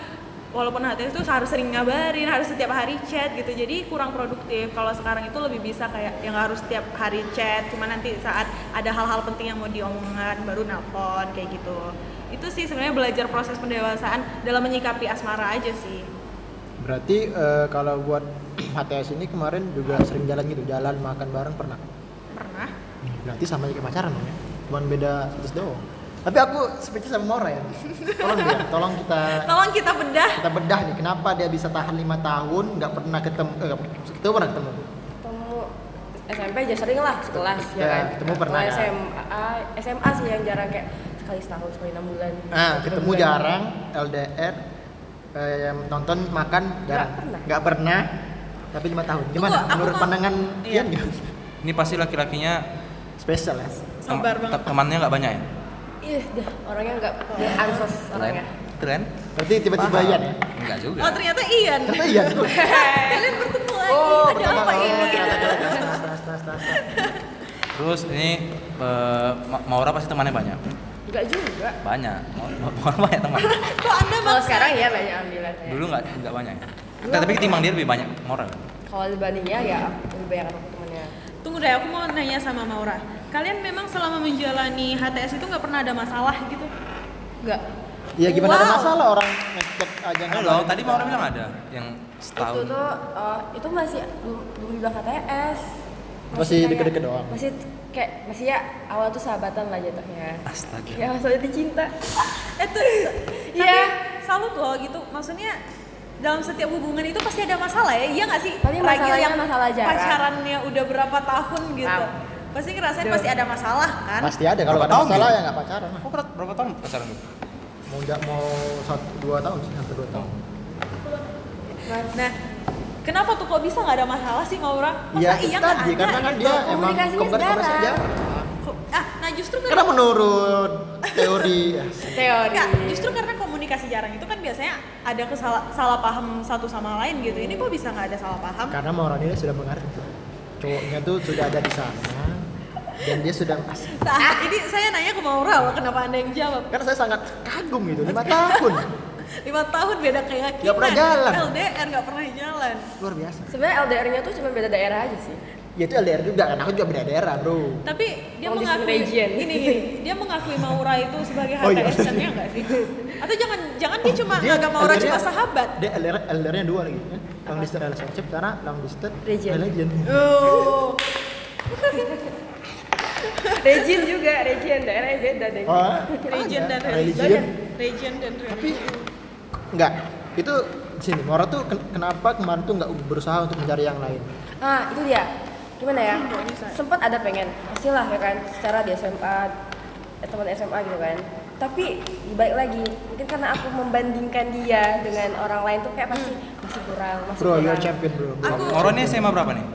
C: walaupun HTS tuh harus sering ngabarin harus setiap hari chat gitu jadi kurang produktif kalau sekarang itu lebih bisa kayak yang harus setiap hari chat cuma nanti saat ada hal-hal penting yang mau diomongkan baru nelfon kayak gitu itu sih sebenarnya belajar proses pendewasaan dalam menyikapi asmara aja sih
A: Berarti eh, kalau buat HTS ini kemarin juga sering jalan gitu, jalan makan bareng pernah
C: pernah
A: Berarti sama aja kayak pacaran dong ya. Cuman beda status doang. Tapi aku speechless sama Maura ya. Tolong ya, tolong kita
C: tolong kita bedah
A: kita bedah nih kenapa dia bisa tahan lima tahun nggak pernah ketemu eh, nggak pernah- kita pernah ketemu Nah,
E: ketemu SMP aja sering lah sekelas ya
A: Ya,
E: kan
A: ketemu pernah
E: Kalau
A: ya.
E: SMA SMA sih yang jarang kayak sekali setahun sekali enam bulan
A: nah
E: Tiga
A: ketemu
C: ya?
E: bulan.
A: jarang LDR eh, yang nonton makan jarang
E: pernah.
A: nggak pernah. tapi lima tahun gimana
C: aku
A: menurut
C: mau-
A: pandangan
C: Iya.
A: Ian gitu
B: Ini pasti laki-lakinya
A: spesial ya
B: tem-
C: sabar banget
B: te- temannya nggak banyak ya?
E: ih dah orangnya enggak
C: Iya.
E: dia ansos orangnya
B: Keren?
A: berarti tiba-tiba Ian ya
B: Enggak juga.
C: oh ternyata Ian
A: ternyata Ian tuh Nah,
C: kalian bertemu lagi
A: Oh,
C: ada
A: pertama
C: apa
A: kali.
C: ini
A: Ternyata- ternyata- ternyata- ternyata- ternyata.
B: Terus ini eh, Ma- Maura pasti temannya banyak.
E: enggak juga
B: Banyak. Ma- Ma- Maura banyak ya teman.
C: kok anda
E: kalau
C: maksa
E: sekarang ya banyak ambilannya
B: Dulu nggak nggak banyak. ya? Nah, tapi ketimbang dia lebih banyak Maura.
E: kalau dibandingnya ya lebih banyak aku temennya
C: tunggu deh aku mau nanya sama Maura kalian memang selama menjalani HTS itu nggak pernah ada masalah gitu
E: enggak
A: Iya gimana ada
C: Wow.
A: masalah orang ngecek aja
B: Enggak
A: ngabarin
B: loh, tadi Maura bilang ada yang
E: itu
B: setahun.
E: tuh eh, itu masih belum belum dibilang KTS
A: Masih
E: kayak-
A: deket-deket doang.
E: masih kayak masih ya awal tuh sahabatan lah jatuhnya
B: Astaga.
E: ya maksudnya dicinta
C: itu
E: Iya.
C: iya salut loh gitu maksudnya dalam setiap hubungan itu pasti ada masalah ya iya nggak sih Ragil
E: Tapi masalahnya masalah jarak.
C: pacarannya udah berapa tahun gitu
E: Nah.
C: pasti ngerasain
E: Duh.
C: pasti ada masalah kan
A: pasti ada kalau
B: Berapa
A: ada
B: tahun
A: masalah
B: dia?
A: ya nggak pacaran lah
B: Kok berat berapa tahun pacaran lu?
A: mau nggak mau satu dua tahun sih satu dua tahun
C: nah kenapa tuh kok bisa nggak ada masalah sih Maura masa
A: iya
C: iya
A: itu
C: nggak
A: tadi
C: ada
A: karena kan
C: gitu?
A: dia emang
E: Komunikasinya
A: komunikasi
E: jarang.
A: jarang
C: Ko- ah nah justru
A: Karena
C: karena
A: menurut teori
E: teori
C: Eh, Enggak, justru karena komunikasi jarang itu kan biasanya ada kesalah salah paham satu sama lain gitu. Ini kok bisa nggak ada salah paham?
A: karena Maurania sudah mengerti. Cowoknya tuh sudah ada di sana dan dia sudah asik.
C: Nah, ini saya nanya ke Maura loh, kenapa anda yang jawab?
A: Karena saya sangat kagum gitu, lima tahun.
C: Lima tahun beda keyakinan.
A: Nggak pernah jalan.
C: LDR nggak pernah jalan.
A: Luar biasa.
E: sebenarnya LDR-nya tuh cuma beda daerah aja sih
A: Ya itu LDR juga kan, aku juga beda daerah bro.
C: Tapi dia
E: Kalau di
C: mengakui
E: region.
C: ini gini, dia mengakui Maura itu sebagai
A: Oh, iya.
C: HTS-nya nggak sih? Atau jangan jangan dia cuma
A: Dia
C: nganggap Maura
A: LDR-nya
C: cuma sahabat?
A: Dia LDR, LDR-nya dua lagi. Ya? Long distance relationship, karena long distance
E: Region.
A: religion.
C: Oh,
E: region juga region daerahnya beda deh
A: Oh,
C: region
A: ada.
C: dan
A: religion.
C: religion, region dan
A: Tapi
C: religion.
A: enggak. Itu di sini Mora tuh ken- kenapa kemarin tuh nggak berusaha untuk mencari yang lain?
E: Nah, itu dia. Gimana ya?
C: Nggak bisa.
E: Sempat ada pengen, pastilah ya kan, secara di SMA, eh, teman SMA gitu kan. Tapi baik lagi, mungkin karena aku membandingkan dia dengan orang lain tuh
C: Hmm.
E: kayak pasti masih kurang, masih
A: Bro,
E: kurang.
A: you're champion bro.
C: Aku-
B: Orangnya SMA berapa nih?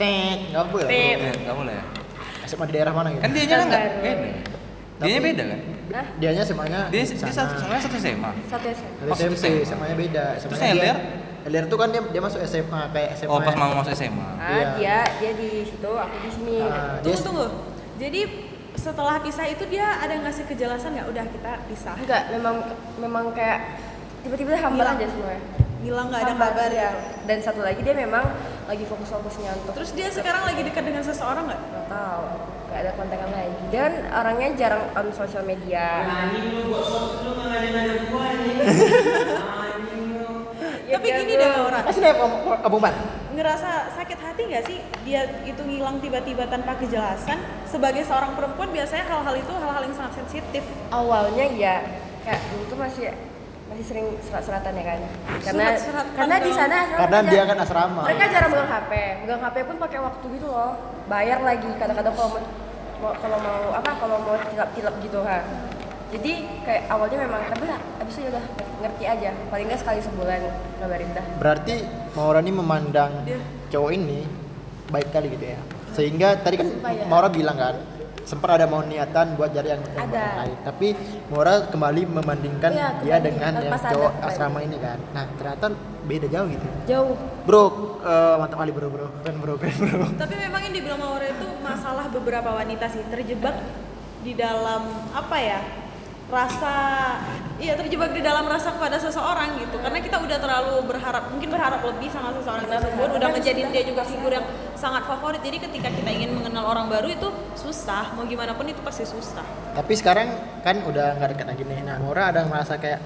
A: Tek, nggak boleh.
E: Tek.
B: Eh, nggak boleh ya?
A: SMA di daerah mana gitu?
B: Kan dia nya kan nggak
E: Baru.
B: beda. Dia nya
A: Tapi-
B: beda kan?
E: Hah?
A: Dianya SMA-nya
B: Dia dia satu sama satu SMA.
E: Satu SMA.
A: Dari
B: Oh, satu
A: SMP,
B: SMA.
A: SMA-nya beda. SMA
B: Terus
A: -nya dia-
B: LDR?
A: LDR tuh kan dia, dia masuk SMA kayak SMA.
B: Oh, pas mau masuk SMA.
E: Ah,
A: Iya.
E: dia dia di situ, aku di sini.
A: Ah, dia
C: Tunggu tunggu. Jadi setelah pisah itu dia ada yang ngasih kejelasan nggak? Udah kita pisah.
E: Enggak, memang memang kayak tiba-tiba hambar
C: Hilang.
E: aja semuanya.
C: Bilang Iya. nggak ada
E: Hambar,
C: kabar
E: iya.
C: ya.
E: Dan satu lagi dia memang lagi fokus-fokusnya untuk
C: Terus dia sekarang lagi dekat dengan seseorang nggak?
E: Gak tahu, gak ada kontakan lagi. Dan orangnya jarang on sosial media. Ya,
C: Tapi
E: jago.
C: gini deh Laura,
A: Masih dia Om Om Umar.
C: ngerasa sakit hati nggak sih dia itu ngilang tiba-tiba tanpa kejelasan? Sebagai seorang perempuan biasanya hal-hal itu hal-hal yang sangat sensitif.
E: Awalnya ya kayak dulu tuh masih masih sering surat-suratan ya kan. Karena
C: Surat-suratan
E: karena di
C: dong.
E: sana asrama
A: Karena
E: mereka-
A: dia kan asrama.
E: Mereka jarang megang HP. Megang HP pun pakai waktu gitu loh. Bayar lagi kadang-kadang kalau mau mau- kalau mau apa kalau mau tilap-tilap gitu ha. Jadi kayak awalnya memang tapi lah, abis itu ya udah ngerti aja. Paling nggak sekali sebulan ngabarin dah.
A: Berarti Maura ini memandang
E: Iya.
C: Dia.
A: cowok ini baik kali gitu ya. Sehingga tadi kan
E: Supaya.
A: Maura bilang kan sempat ada mau niatan buat cari yang yang
E: Ada.
A: lain. Tapi Maura kembali membandingkan
E: Iya,
A: dia
E: kembali.
A: dengan yang
E: Tanpa sadar
A: cowok
E: kembali.
A: asrama ini kan. Nah, ternyata beda jauh gitu.
E: Jauh
A: Bro, eh, mantap kali bro, bro. Keren bro, keren bro.
C: Tapi memang yang dibilang Maura itu masalah beberapa wanita sih terjebak di dalam apa ya? rasa iya terjebak di dalam rasa kepada seseorang gitu karena kita udah terlalu berharap mungkin berharap lebih sama seseorang
E: Kita
C: tersebut
E: berharap
C: udah
E: kan
C: menjadi
E: sudah.
C: dia juga figur yang sangat favorit jadi ketika kita ingin mengenal orang baru itu susah mau gimana pun itu pasti susah
A: Tapi sekarang kan udah nggak dekat lagi nih. Nah, Maura ada yang merasa kayak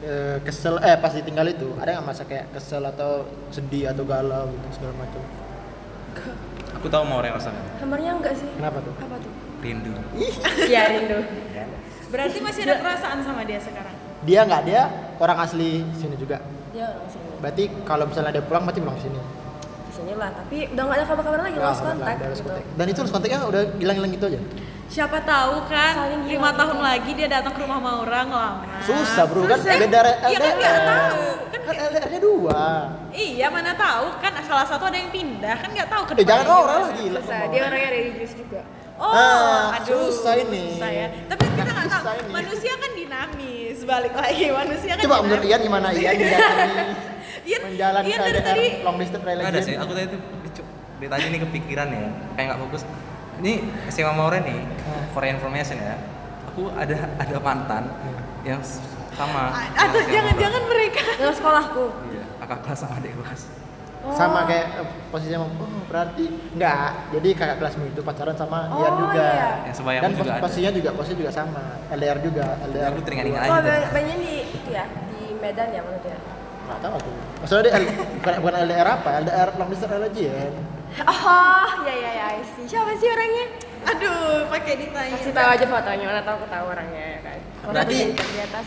A: eh, kesel eh pas ditinggal itu ada yang merasa kayak kesel atau sedih atau galau gitu segala macam.
B: Aku tahu mau orang rasanya.
E: Hambarnya enggak sih?
A: Kenapa tuh?
E: Apa tuh?
B: Rindu.
E: Iya rindu.
C: berarti masih ada
E: Iya.
C: perasaan sama dia sekarang
A: Dia nggak dia orang asli sini juga.
E: Dia orang sini.
A: Berarti kalau misalnya dia pulang pasti pulang sini.
E: Di sini lah, tapi udah nggak ada kabar-kabar lagi,
A: Nggak,
E: lost
A: nggak,
E: kontak.
A: nggak harus
E: gitu.
A: kontak. Dan itu harus kontaknya udah hilang-hilang gitu aja.
C: Ah, siapa tahu
E: Saling
C: kan lima
E: hilang. gitu.
C: tahun lagi dia datang ke rumah Maura ngelamar
A: Susah bro kan
C: Susah.
A: beda re-
C: Iya, kan nggak tahu kan
A: Kan LDR-nya dua.
C: Iya mana tahu kan salah satu ada yang pindah kan nggak tahu ke
A: Eh, jangan
C: depannya
A: orang
C: gimana. kan
A: lah gila.
E: Susah, dia orangnya religius juga.
C: Oh,
A: Ah,
C: aduh,
A: susah ini.
C: susah ya. Tapi kita nggak tahu.
A: Susah ini.
C: Manusia kan dinamis. Balik lagi manusia kan.
A: Coba ya, menurut Ian
C: dinamis.
A: gimana Ian menjalani
C: Ian,
A: menjalani
C: Ian dari
A: LDR
C: tadi
A: long distance
B: Nggak ada sih.
A: relationship?
B: Aku tadi tuh dicu- dia tadi ini kepikiran ya, kayak nggak fokus. Ini SMA Maura nih, for your information ya. Aku ada ada mantan yang s- sama.
C: A-
B: sama
C: atau
B: SMA
C: jangan-jangan mereka
E: Dalam sekolahku.
B: Maura. Iya, kakak kelas sama adik kelas.
C: Oh.
A: sama kayak eh, posisinya oh, berarti enggak jadi kakak kelasmu itu pacaran sama
E: Oh,
A: Ian juga
E: iya.
B: Yang sebayang
A: dan
B: juga
A: pos-
B: ada.
A: posisinya juga posisinya juga sama LDR juga LDR
B: Aku teringat-ingat
A: juga.
E: Oh,
B: gitu.
E: ba- banyak di itu ya, di Medan ya menurut ya.
A: nggak tahu aku maksudnya dia L- bukan, bukan LDR apa LDR long distance religion
E: Oh, ya ya ya, I see. Siapa sih orangnya?
C: Aduh, pakai ditanya.
E: Kasih tahu aja fotonya, mana tahu aku tahu orangnya ya kan. Kalau
B: Berarti-
E: aku di atas.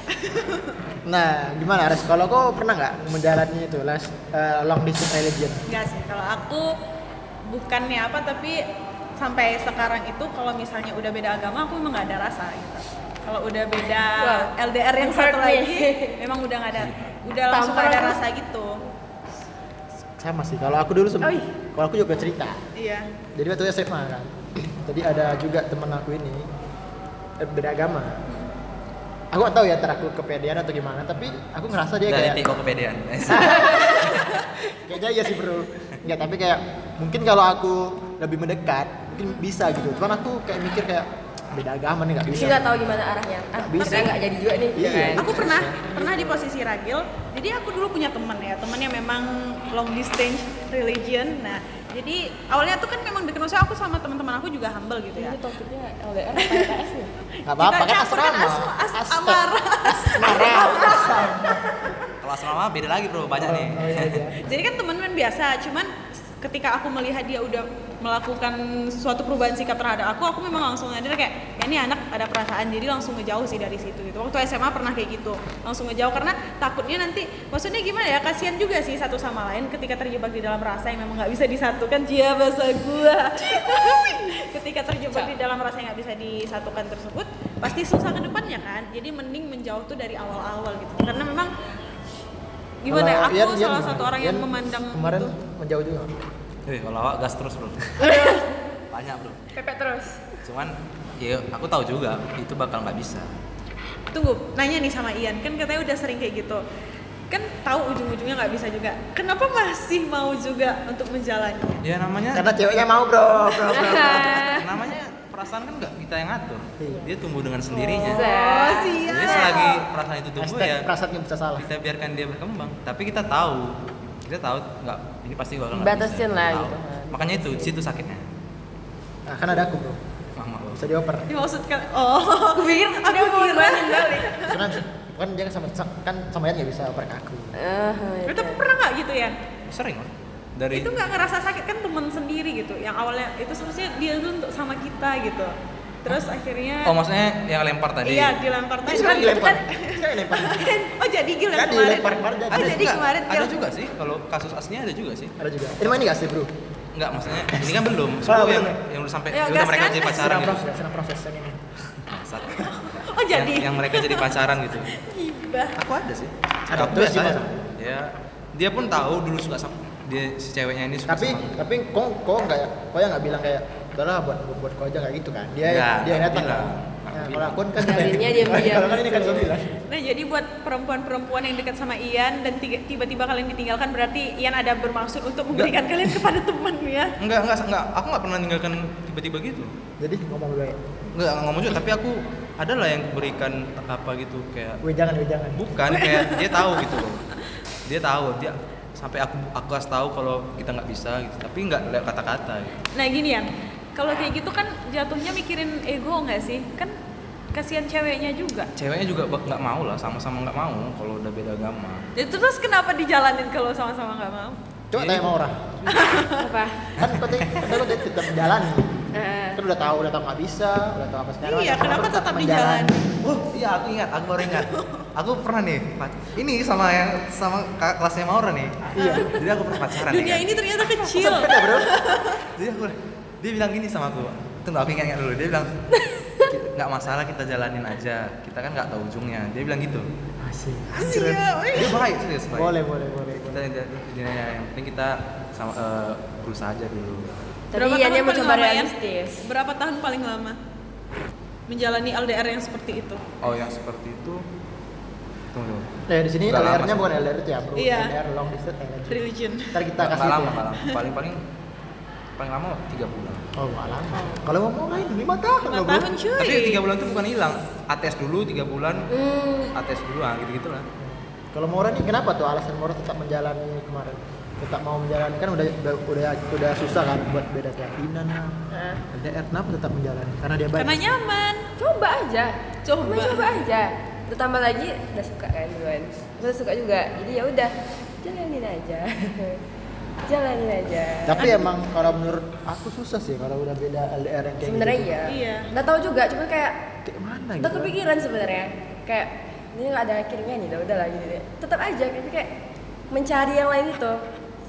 A: nah gimana Ares kalau kau pernah nggak menjalani itu last eh, long distance religion
C: Enggak sih, kalau aku bukannya apa tapi sampai sekarang itu kalau misalnya udah beda agama aku memang nggak ada rasa gitu. Kalau udah beda
E: Wow.
C: LDR yang
E: Hurt
C: satu
E: me.
C: lagi memang udah nggak ada udah langsung
E: Tampar
C: ada
E: aku.
C: rasa gitu.
A: sama sih kalau aku dulu sempat
E: Oi.
A: kalau aku juga cerita
C: Iya.
A: jadi waktu SMA kan jadi ada juga temen aku ini eh, beda agama aku gak tahu ya antara aku kepedean atau gimana tapi aku ngerasa dia
B: Dari
A: Iya, kayak
B: tipe kepedean.
A: kayaknya iya sih bro nggak tapi kayak mungkin kalau aku lebih mendekat mungkin bisa gitu cuman aku kayak mikir kayak beda agama nih nggak
E: Jadi
A: bisa
E: nggak tahu gimana arahnya. Ah,
A: Nggak bisa.
E: bisa nggak jadi juga nih.
A: Iya.
E: kan?
C: aku pernah pernah di posisi ragil jadi aku dulu punya temen ya temennya memang long distance religion nah jadi awalnya tuh kan memang bikin usaha aku sama teman-teman aku juga humble gitu ya
E: Ini topiknya LDR apa LDS nih?
A: nggak apa-apa
C: Kita
A: kan
C: campur kan
A: asrama
C: asma- as-
A: As-
C: asmara.
A: asmara
B: Kalau asrama beda lagi bro, banyak nih.
A: Oh, iya, iya.
C: jadi kan teman-teman biasa cuman ketika aku melihat dia udah melakukan suatu perubahan sikap terhadap aku aku memang langsung nyadar kayak "Ya, ini anak ada perasaan jadi langsung ngejauh sih dari situ gitu waktu SMA pernah kayak gitu langsung ngejauh karena takutnya nanti maksudnya gimana ya kasihan juga sih satu sama lain ketika terjebak di dalam rasa yang memang nggak bisa disatukan dia bahasa gua ketika terjebak di dalam rasa yang nggak bisa disatukan tersebut pasti susah ke depannya kan jadi mending menjauh tuh dari awal-awal gitu karena memang gimana ya
A: Kalau
C: aku
A: Ian, Ian
C: salah
A: gimana?
C: satu orang yang
A: Ian
C: memandang
A: iya, kemarin
C: itu
A: menjauh juga nggak?
B: Wih, kalau awak gas terus bro. banyak bro.
E: Pepet terus.
B: Cuman ya aku tahu juga itu bakal nggak bisa.
C: tunggu nanya nih sama Ian kan katanya udah sering kayak gitu kan tahu ujung-ujungnya nggak bisa juga kenapa masih mau juga untuk menjalannya
F: ya namanya
A: karena ceweknya mau bro bro bro
B: Namanya perasaan kan nggak kita yang ngatur.
A: Iya.
B: Dia tumbuh dengan sendirinya.
C: oh
B: Jadi
C: siap
B: selagi perasaan itu tumbuh
A: Hashtag
B: ya
A: perasaannya bisa salah
B: kita biarkan dia berkembang. Tapi kita tahu, kita tahu nggak ini pasti bakal nggak
E: Batasin
B: bisa.
E: lah
B: Tahu.
E: gitu kan.
B: Makanya itu di situ sakitnya.
A: nah, kan ada aku bro
B: Mama bro.
A: bisa dioper
C: dimaksudkan oh aku pikir aku balik
A: karena kan dia kan sama kan sama Ian nggak bisa oper ke aku
E: Eh,
C: itu pernah nggak gitu ya
B: Sering lah. Dari
C: itu nggak ngerasa sakit kan temen sendiri gitu yang awalnya itu seharusnya dia tuh untuk sama kita gitu terus akhirnya
B: Oh maksudnya yang lempar tadi?
C: iya dilempar
A: kan
C: tadi
A: sekarang dilempar
C: Kan-
A: sekarang dilempar
C: oh jadi gil yang
A: Kan
C: kemarin
A: dilempar kemarin jadi.
C: oh jadi
B: Enggak,
C: kemarin
B: ada
C: gil.
B: juga sih kalau kasus aslinya ada juga sih
A: ada juga ini mah ini nggak sih bro
B: enggak maksudnya ini kan belum
A: Ah,
B: sebelum
A: belum
B: yang
A: ya?
B: yang udah sampai
C: Ya,
B: udah
C: gas
B: mereka
C: kan?
B: jadi
A: sedang
B: pacaran gitu.
A: proses sedang proses yang ini
B: Bangsat.
C: oh jadi
B: yang, yang mereka jadi pacaran gitu
C: Gibah.
B: aku ada sih
A: Ada,
B: aku
A: terus
B: biasa
A: gimana?
B: ya dia pun tahu dulu suka sama dia si ceweknya ini suka
A: tapi
B: sama
A: tapi kok kok nggak ya? kok yang nggak bilang kayak udahlah buat buat, buat kau aja kayak gitu kan dia
B: Nggak,
A: dia yang
B: nggak
A: datang kan
B: bilang. Nggak
A: nah, kalau
B: bilang.
A: aku kan
E: Nyarinya diam-diam.
A: kalau kan ini kan zombie lah
C: Nah, jadi buat perempuan-perempuan yang dekat sama Ian dan tiga- tiba-tiba kalian ditinggalkan berarti Ian ada bermaksud untuk memberikan kalian kepada teman ya.
B: enggak enggak enggak aku nggak pernah ninggalkan tiba-tiba gitu
A: jadi ngomong gue
B: enggak nggak ngomong juga tapi aku adalah yang berikan apa gitu kayak
A: gue jangan gue jangan
B: bukan kayak dia tahu gitu loh dia tahu dia sampai aku aku kasih tahu kalau kita nggak bisa gitu tapi nggak lewat kata-kata gitu.
C: Nah, gini Ian. Kalau kayak gitu kan jatuhnya mikirin ego nggak sih? Kan kasihan ceweknya juga.
B: ceweknya juga bak- nggak mau lah sama-sama nggak mau kalau udah beda agama
C: Ya, terus kenapa dijalanin kalau sama-sama nggak mau?
A: coba
B: Iya.
A: tanya sama orang
E: apa?
A: kan kau teh kan kau teh tetap menjalani
E: Eh,
A: kan udah tahu udah tahu nggak bisa udah tahu apa sekarang
C: Iya, kenapa tetap dijalani?
B: oh iya aku ingat aku baru ingat aku pernah nih pac- ini sama yang sama kakak kelasnya Maura nih
A: Iya.
B: jadi aku pernah pacaran nih
C: Dunia
B: kan.
C: ini ternyata kecil.
B: jadi aku dia bilang gini sama aku tunggu aku ingat ingat dulu dia bilang nggak masalah kita jalanin aja kita kan nggak tahu ujungnya dia bilang gitu
A: asik
C: Iya,
B: Anjir, dia baik serius baik
A: boleh boleh boleh
B: kita
A: boleh.
B: dia, yang penting kita sama eh, berusaha aja dulu
E: tapi
C: tahun
E: Iannya
C: paling
E: mencoba
C: lama, Ian?
E: realistis.
C: Berapa tahun paling lama menjalani LDR yang seperti itu?
B: oh yang seperti itu tunggu dulu.
A: Nah, di sini
B: Udah lama
A: LDR-nya
B: sih.
A: bukan LDR itu ya, bro.
C: Iya.
A: LDR long distance LDR.
C: Religion.
A: Ntar kita
B: Nggak-
A: kasih
B: nggak
A: itu
B: lama
A: ya.
B: nggak lama paling paling paling lama tiga bulan
A: Oh, nggak lama. Kalau mau mau lain 5 tahun
C: Lima
A: loh, bro.
C: tahun cuy.
B: tapi tiga bulan itu bukan hilang ATS dulu tiga bulan
E: Hmm,
B: ATS dulu ah gitu gitulah
A: Kalau Mora nih kenapa tuh alasan Mora tetap menjalani kemarin? Tetap mau menjalankan udah udah udah, udah susah kan buat beda keyakinan.
E: nah.
A: LDR kenapa tetap menjalani? Karena dia baik.
C: Karena nyaman.
E: coba aja
C: Coba.
E: Cuma coba aja terutama lagi udah suka kan duluan udah suka juga jadi ya udah jalanin aja jalanin aja
A: Tapi emang kalau menurut aku susah sih kalau udah beda LDR yang kayak
E: sebenarnya
A: gitu.
E: iya
C: Iya.
E: nggak tahu juga cuma kayak
A: Kayak mana gitu?
E: udah kepikiran sebenarnya kayak ini nggak ada akhirnya nih udah udah lah gitu deh tetap aja tapi kayak mencari yang lain itu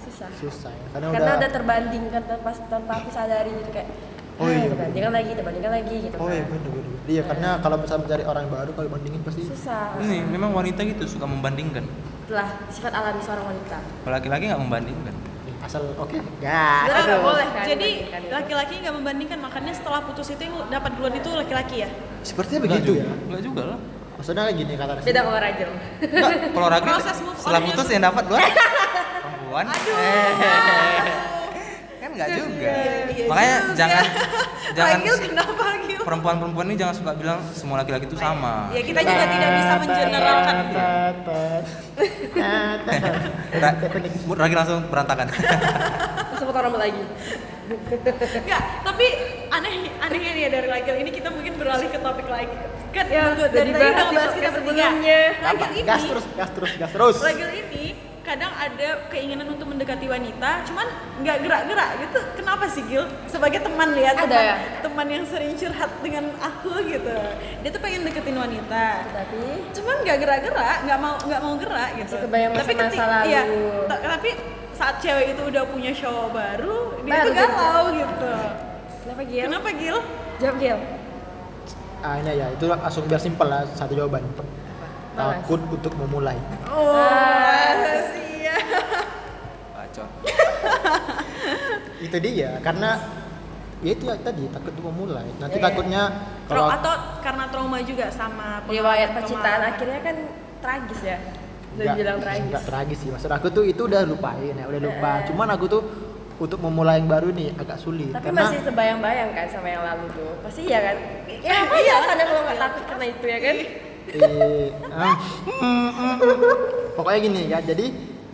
E: susah
A: Susah ya. Karena,
E: karena
A: udah,
E: udah terbandingkan tanpa tanpa aku sadari gitu kayak
A: Oh
E: ah,
A: iya.
E: terbandingkan lagi terbandingkan lagi gitu
A: Oh iya
E: kan.
A: benar benar. Iya, karena kalau misalnya mencari orang baru kalau bandingin pasti
E: susah
B: ini memang wanita gitu suka membandingkan
E: itulah sifat alami seorang wanita
B: kalau laki-laki nggak membandingkan
A: Iya. asal oke gas
E: Sebenarnya nggak
A: terus.
E: boleh kan
C: Jadi
E: membandingkan gitu.
C: laki-laki nggak membandingkan makanya setelah putus itu yang dapat duluan itu laki-laki ya.
B: Sepertinya
A: Nggak
B: begitu.
A: juga.
G: Enggak juga lah.
A: maksudnya gini kata Rizky.
E: beda kalau rajin
B: Enggak, kalau ragu
C: Proses move ya.
B: setelah
C: on-nya
B: putus
C: tuh-
B: yang dapat gua perempuan. Eh, kan enggak juga.
C: Iya,
B: Makanya jangan jangan
C: Agil kenapa Agil?
B: perempuan-perempuan ini jangan suka bilang semua laki-laki itu sama.
C: Ya kita juga tidak bisa mengeneralkan.
B: Ra- mood Ragi langsung berantakan.
E: terus potong rambut lagi
C: Enggak, tapi aneh anehnya nih ya dari Agil ini kita mungkin beralih ke topik lagi. Kan ya,
E: udah
C: dari tadi
E: dibahas
C: kita bahas
E: di podcast
C: kita bertiga.
E: sebelumnya.
C: Agil ini
A: gas terus gas terus gas terus
C: Lagil ini kadang ada keinginan untuk mendekati wanita, cuman nggak gerak-gerak gitu. Kenapa sih Gil? Sebagai teman ya,
E: Ada
C: teman,
E: ya?
C: teman yang sering curhat dengan aku gitu. Dia tuh pengen deketin wanita,
E: tapi
C: cuman nggak gerak-gerak, nggak mau nggak mau gerak gitu.
E: Masih kebayang masa-masa
C: ketik-
E: lalu.
C: iya, ta- tapi saat cewek itu udah punya cowok baru, dia
E: Baru Iya.
C: tuh
E: dia
C: galau gitu.
E: kenapa Gil?
C: Kenapa Gil?
E: jawab Gil
A: ah ini ya itu langsung biar simpel lah satu jawaban
E: Malas.
A: takut untuk memulai
C: Oh,
E: Ah.
C: sia.
B: Bacot.
A: itu dia karena ya itu tadi takut untuk memulai nanti
E: Iya.
A: takutnya
C: Tra-
A: kalau
C: atau karena trauma juga sama pengalaman
E: riwayat Iya, percintaan
C: kemarin.
E: akhirnya kan tragis ya udah
A: Nggak-
E: bilang tragis
A: nggak tragis sih maksud aku tuh itu udah lupain ya udah lupa
E: Eh.
A: cuman aku tuh untuk memulai yang baru nih agak sulit
E: tapi
A: karena
E: masih terbayang-bayang kan sama yang lalu tuh pasti iya kan ya apa
C: Iya.
E: ya alasannya kalau nggak takut karena itu ya kan
A: eh, ah, mm, mm, mm. pokoknya gini ya jadi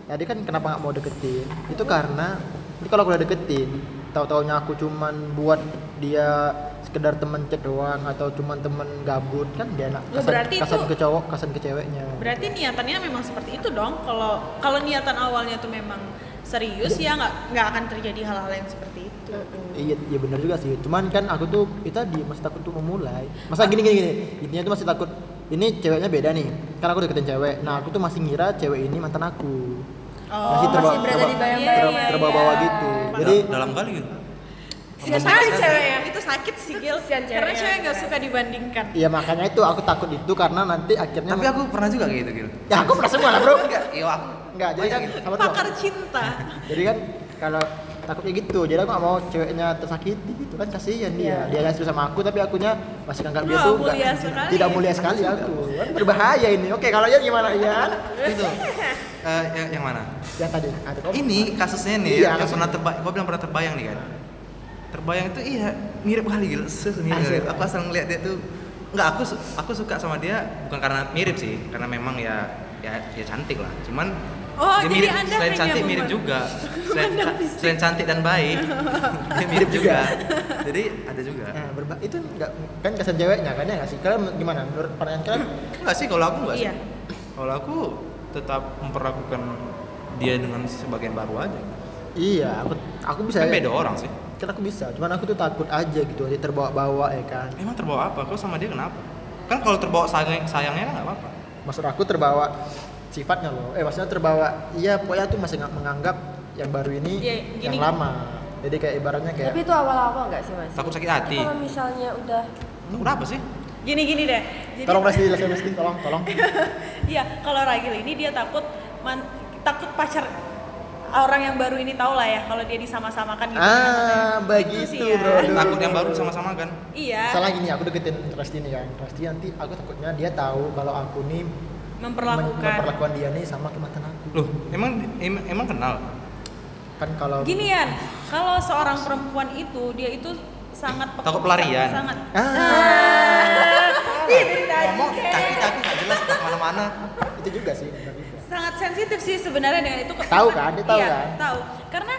A: tadi kan kenapa nggak mau deketin itu karena jadi kalau aku udah deketin tahu-taunya aku cuman buat dia sekedar temen chat doang atau cuman temen gabut kan dia enak
C: Ya,
A: kasan,
C: berarti
A: kasan
C: itu-
A: ke cowok kasan ke ceweknya
C: Berarti niatannya memang seperti itu dong. Kalau kalau niatan awalnya tuh memang serius ya nggak nggak akan terjadi hal-hal yang seperti itu.
A: Iya, iya benar juga sih. Cuman kan aku tuh itu tadi masih takut untuk memulai. Masa gini gini gini. Intinya tuh masih takut. Ini ceweknya beda nih. Kan aku deketin cewek. Nah, aku tuh masih ngira cewek ini mantan aku.
C: Oh,
E: terbawa- masih berada di bayang-bayang.
A: terba-
E: Iya,
A: terbawa-bawa
E: iya.
A: gitu. Jadi
B: Jadi dalam kali gitu.
E: Siapa
C: Sakit
E: sih
C: ceweknya. Itu sakit sih Gil.
E: Kasihan
C: Karena
E: ceweknya.
C: cewek nggak suka dibandingkan.
A: Iya makanya itu aku takut itu karena nanti akhirnya
B: nah. Tapi aku pernah juga kayak gitu gitu.
A: ya aku pernah semua lah bro
B: Enggak, iya aku.
A: enggak jadi kan
B: gitu.
A: sama tuh
C: Pakar cinta.
A: jadi kan kalau takutnya gitu jadi aku gak mau ceweknya tersakiti gitu kan kasihan dia
E: Iya.
A: dia gak serius sama aku tapi akunya masih nganggap dia
C: Wah,
A: tuh
C: mulia
A: nggak-
C: sekali.
A: tidak mulia sekali aku kan berbahaya ini oke kalau ya gimana ya
B: Itu. Eh, yang- yang mana?
A: yang tadi ada kok
B: Ini kasusnya nih
A: Iya,
B: yang
A: kasus-
B: pernah terbayang. Gua bilang pernah terbayang nih kan. Terbayang itu iya mirip kali gitu. Semirip.
A: Asli.
B: Aku asal ngeliat dia tuh Enggak, aku su- aku suka sama dia bukan karena mirip sih, karena memang ya ya ya cantik lah. Cuman
C: Oh,
B: dia
C: jadi
B: mirip,
C: Anda
B: selain
C: hanya
B: cantik mirip
C: membuat-
B: juga. Selain, ca- selain cantik dan baik, dia mirip juga.
A: Iya.
B: Jadi ada juga.
A: Nah, berba- itu enggak kan kesan ceweknya kan ya nggak sih? Kalian gimana? Menurut pandangan kalian?
B: Enggak sih kalau aku enggak
C: Iya.
B: sih. Kalau aku tetap memperlakukan dia dengan sebagian baru aja.
A: iya, aku aku bisa.
B: Kan beda orang sih.
A: Kan aku bisa. Cuman aku tuh takut aja gitu, jadi terbawa-bawa ya kan.
B: Emang terbawa apa? Kau sama dia kenapa? Kan kalau terbawa sayang, sayangnya kan nggak apa-apa.
A: Maksud aku terbawa sifatnya loh. Eh maksudnya terbawa. Iya, pokoknya tuh masih nggak menganggap yang baru ini
C: Iya, gini.
A: yang lama. Jadi kayak ibaratnya kayak
E: tapi itu awal-awal nggak sih mas
B: Takut sakit hati.
E: kalau misalnya udah
B: Takut apa sih?
C: Gini gini deh. Jadi
A: tolong Resti, Resti, Resti, tolong, tolong.
C: Iya, kalau Ragil ini dia takut man- takut pacar orang yang baru ini tahu lah ya kalau dia disama-samakan gitu.
A: ah,
C: Itu
A: begitu,
C: sih ya.
A: Bro. Aduh.
B: Takut yang baru sama-sama kan?
C: Iya.
A: Salah gini, aku deketin Resti nih kan. Resti nanti aku takutnya dia tahu kalau aku nih
C: Memperlakukan.
A: mem- memperlakukan dia nih sama kayak mantan aku.
B: Loh, emang em- emang kenal?
A: Kan kalau
C: Gini Yan, kalau seorang perempuan itu dia itu sangat peka-
B: Takut pelarian.
C: Sangat.
A: Ah.
C: Itu tadi,
B: Ngomong
C: Ken.
B: kaki-kaki nggak jelas ke mana-mana.
C: Ah.
A: itu juga sih benar juga.
C: sangat sensitif sih sebenarnya dengan itu ke-
A: Tahu kan? Dia tahu
C: Iya,
A: kan?
C: tahu karena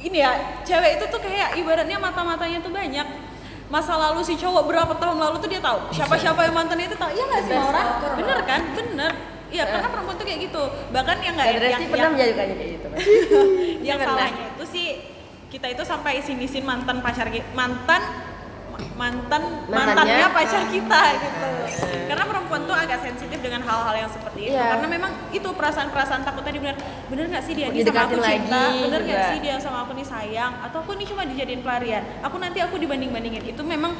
C: ini ya cewek itu tuh kayak ibaratnya mata matanya tuh banyak masa lalu si cowok berapa tahun lalu tuh dia tahu siapa siapa yang mantannya itu tahu iya nggak sih
E: Best
C: Maura
E: actor.
C: bener kan bener iya
E: Eh.
C: karena perempuan tuh kayak gitu bahkan yang nggak
E: dan Resti
C: yang-
E: pernah
C: yang-
E: menjadi kayak gitu kan
C: yang
E: Pernah.
C: salahnya itu sih kita itu sampai isin-isin mantan pacar kita mantan ma- mantan mantannya
E: Mantannya. Nah,
C: pacar kita gitu karena perempuan tuh agak sensitif dengan hal-hal yang seperti itu
E: Iya.
C: karena memang itu perasaan-perasaan takutnya dia benar benar nggak sih dia
E: Mau
C: ini sama aku
E: didekatin
C: cinta
E: lagi Iya.
C: benar nggak
E: juga.
C: sih dia sama aku nih sayang atau aku ini cuma dijadiin pelarian aku nanti aku dibanding-bandingin itu memang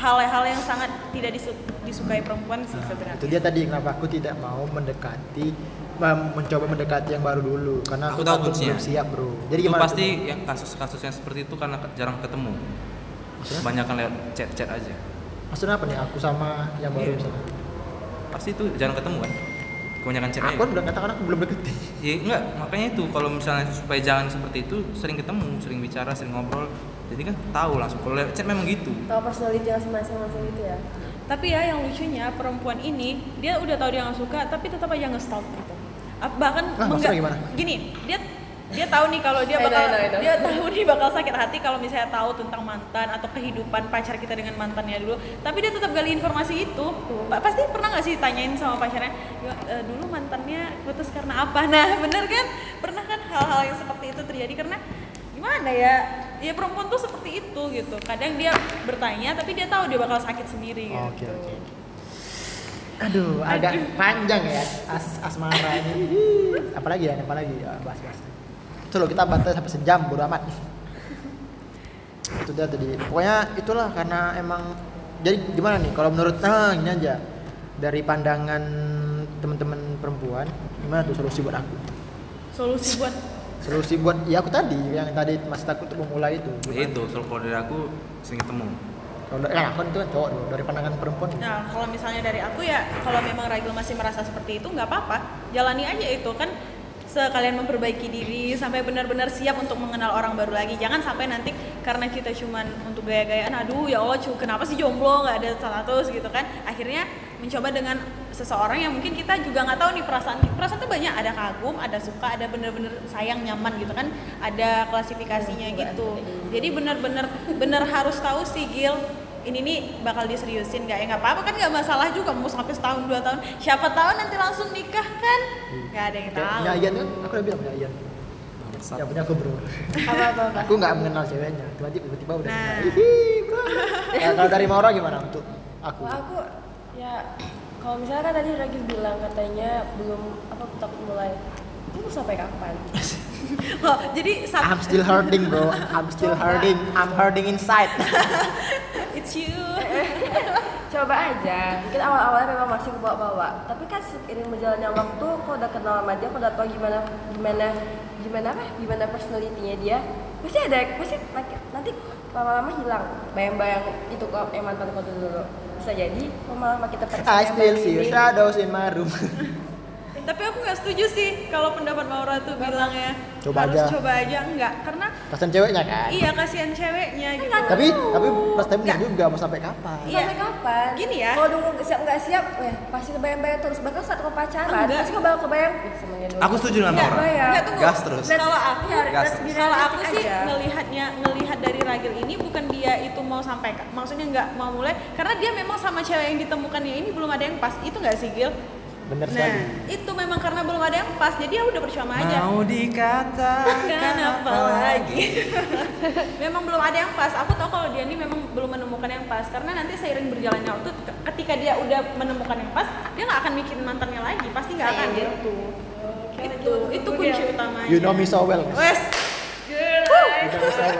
C: hal-hal yang sangat tidak disu- disukai perempuan sih sebenarnya
A: Itu dia tadi kenapa aku tidak mau mendekati mem- mencoba mendekati yang baru dulu karena aku,
B: Aku tahu
A: takut
B: kuncinya.
A: belum siap bro. Jadi
B: Itu
A: gimana?
B: pasti yang kasus-kasus yang seperti itu karena ke- jarang ketemu.
A: Maksudnya?
B: Banyak lewat chat-chat aja.
A: tuh? Maksudnya apa nih? Aku sama yang baru
B: Iya.
A: misalnya.
B: Pasti itu jarang ketemu kan? Kebanyakan chat
A: Aku kan udah katakan aku belum deketin.
B: Ya enggak, makanya itu kalau misalnya supaya jangan seperti itu sering ketemu, sering bicara, sering ngobrol. Jadi kan tahu langsung kalau lewat chat memang gitu.
E: Tahu personality langsung masing-masing gitu ya.
C: Tapi ya yang lucunya perempuan ini dia udah tahu dia nggak suka tapi tetap aja ngestalk gitu. Ap- Bahkan
A: Nah,
C: mengga-
A: maksudnya gimana?
C: Gini, dia dia tahu nih kalau dia
E: I know,
C: bakal
E: I know, I know.
C: dia tahu nih bakal sakit hati kalau misalnya tahu tentang mantan atau kehidupan pacar kita dengan mantannya dulu. Tapi dia tetap gali informasi itu. Pa- Pasti pernah nggak sih tanyain sama pacarnya, "Ya, eh, dulu mantannya putus karena apa? Nah, bener kan? Pernah kan hal-hal yang seperti itu terjadi karena gimana ya? Ya perempuan tuh seperti itu gitu. Kadang dia bertanya tapi dia tahu dia bakal sakit sendiri. gitu.
A: Oke oke. Iya. Aduh, agak panjang ya as asmara ini. Apalagi ya, apalagi ya, bahas bahas. Itu loh kita bantai sampai sejam, bodo amat. itu dia tadi. Pokoknya itulah karena emang jadi gimana nih kalau menurut nah ini aja dari pandangan teman-teman perempuan gimana tuh solusi buat aku
C: solusi buat
A: solusi buat ya aku tadi yang tadi masih takut untuk memulai itu
B: Ya itu, so- kalau dari aku sering ketemu.
A: kalau ya aku itu kan cowok dulu dari pandangan perempuan
C: nah kalau misalnya dari aku ya kalau memang Ragil masih merasa seperti itu nggak apa-apa jalani aja itu kan sekalian memperbaiki diri sampai benar-benar siap untuk mengenal orang baru lagi jangan sampai nanti karena kita cuman untuk gaya-gayaan aduh ya Allah cu kenapa sih jomblo nggak ada status gitu kan akhirnya mencoba dengan seseorang yang mungkin kita juga nggak tahu nih perasaan perasaan tuh banyak ada kagum ada suka ada bener-bener sayang nyaman gitu kan ada klasifikasinya gitu jadi bener-bener bener harus tahu sih Gil ini nih bakal diseriusin nggak ya nggak apa-apa kan nggak masalah juga mau sampai setahun dua tahun siapa tahu nanti langsung nikah kan nggak ada yang tahu
A: punya Ian kan aku udah bilang punya Ian ya punya aku bro
E: Apa apa apa.
A: aku nggak mengenal ceweknya tiba-tiba tiba udah
C: Nah.
A: kenal. Hihi, bro. Ya, kalau dari Maura gimana untuk aku
E: Kalau aku ya kalau misalnya kan tadi Ragil bilang katanya belum apa takut mulai. Itu mau sampai kapan?
C: Loh, Oh, jadi satu
A: I'm still hurting bro I'm still hurting I'm hurting inside
C: it's you
E: Coba aja. Mungkin awal-awalnya memang masih bawa-bawa. Tapi kan seiring berjalannya waktu, kau udah kenal sama dia, kau udah tahu gimana gimana gimana apa? Gimana personalitinya dia. Pasti ada, pasti laki- nanti lama-lama hilang bayang-bayang itu kok yang mantan kau dulu dulu. Bisa jadi kau malah makin
A: I
E: terpercaya
A: Ah, still
E: sama
A: see your
E: diri.
A: shadows in my room
C: tapi aku nggak setuju sih kalau pendapat Maura tuh bilangnya
A: Coba
C: harus
A: aja.
C: coba aja enggak karena
A: pasan ceweknya kan
C: iya kasihan
E: Kan
C: ceweknya gitu
A: tapi tapi pas time juga mau sampai kapan
C: Iya.
E: Sampai kapan?
C: Gini ya.
E: Kalau nunggu siap nggak siap, ya pasti kebayang-bayang terus. Bahkan saat kau pacaran,
C: Enggak.
E: pasti kau bakal kebayang. "Ih, semuanya dulu."
D: Aku setuju dengan
E: Nggak
D: Maura.
E: bayang.
C: Nggak, tunggu.
D: Gas terus.
C: Kalau aku
E: Ya,
D: Gas
E: that's
D: terus.
E: be
C: Kalau aku
E: realistic
C: sih
E: aja.
C: melihatnya ngelihat dari Ragil ini bukan dia itu mau sampai maksudnya nggak mau mulai karena dia memang sama cewek yang ditemukannya ini belum ada yang pas itu nggak sih Gil?
A: bener
C: Nah,
A: sekali
C: itu memang karena belum ada yang pas, jadi ya udah percuma aja.
D: Mau dikatakan
C: Kan apa lagi? memang belum ada yang pas. Aku tahu kalau dia ini memang belum menemukan yang pas, karena nanti seiring berjalannya waktu, ke- ketika dia udah menemukan yang pas, dia nggak akan mikirin mantannya lagi, pasti nggak akan.
E: Gitu.
C: Itu, itu kunci utamanya.
A: you know me so well guys.
C: Wes,
A: you know me so well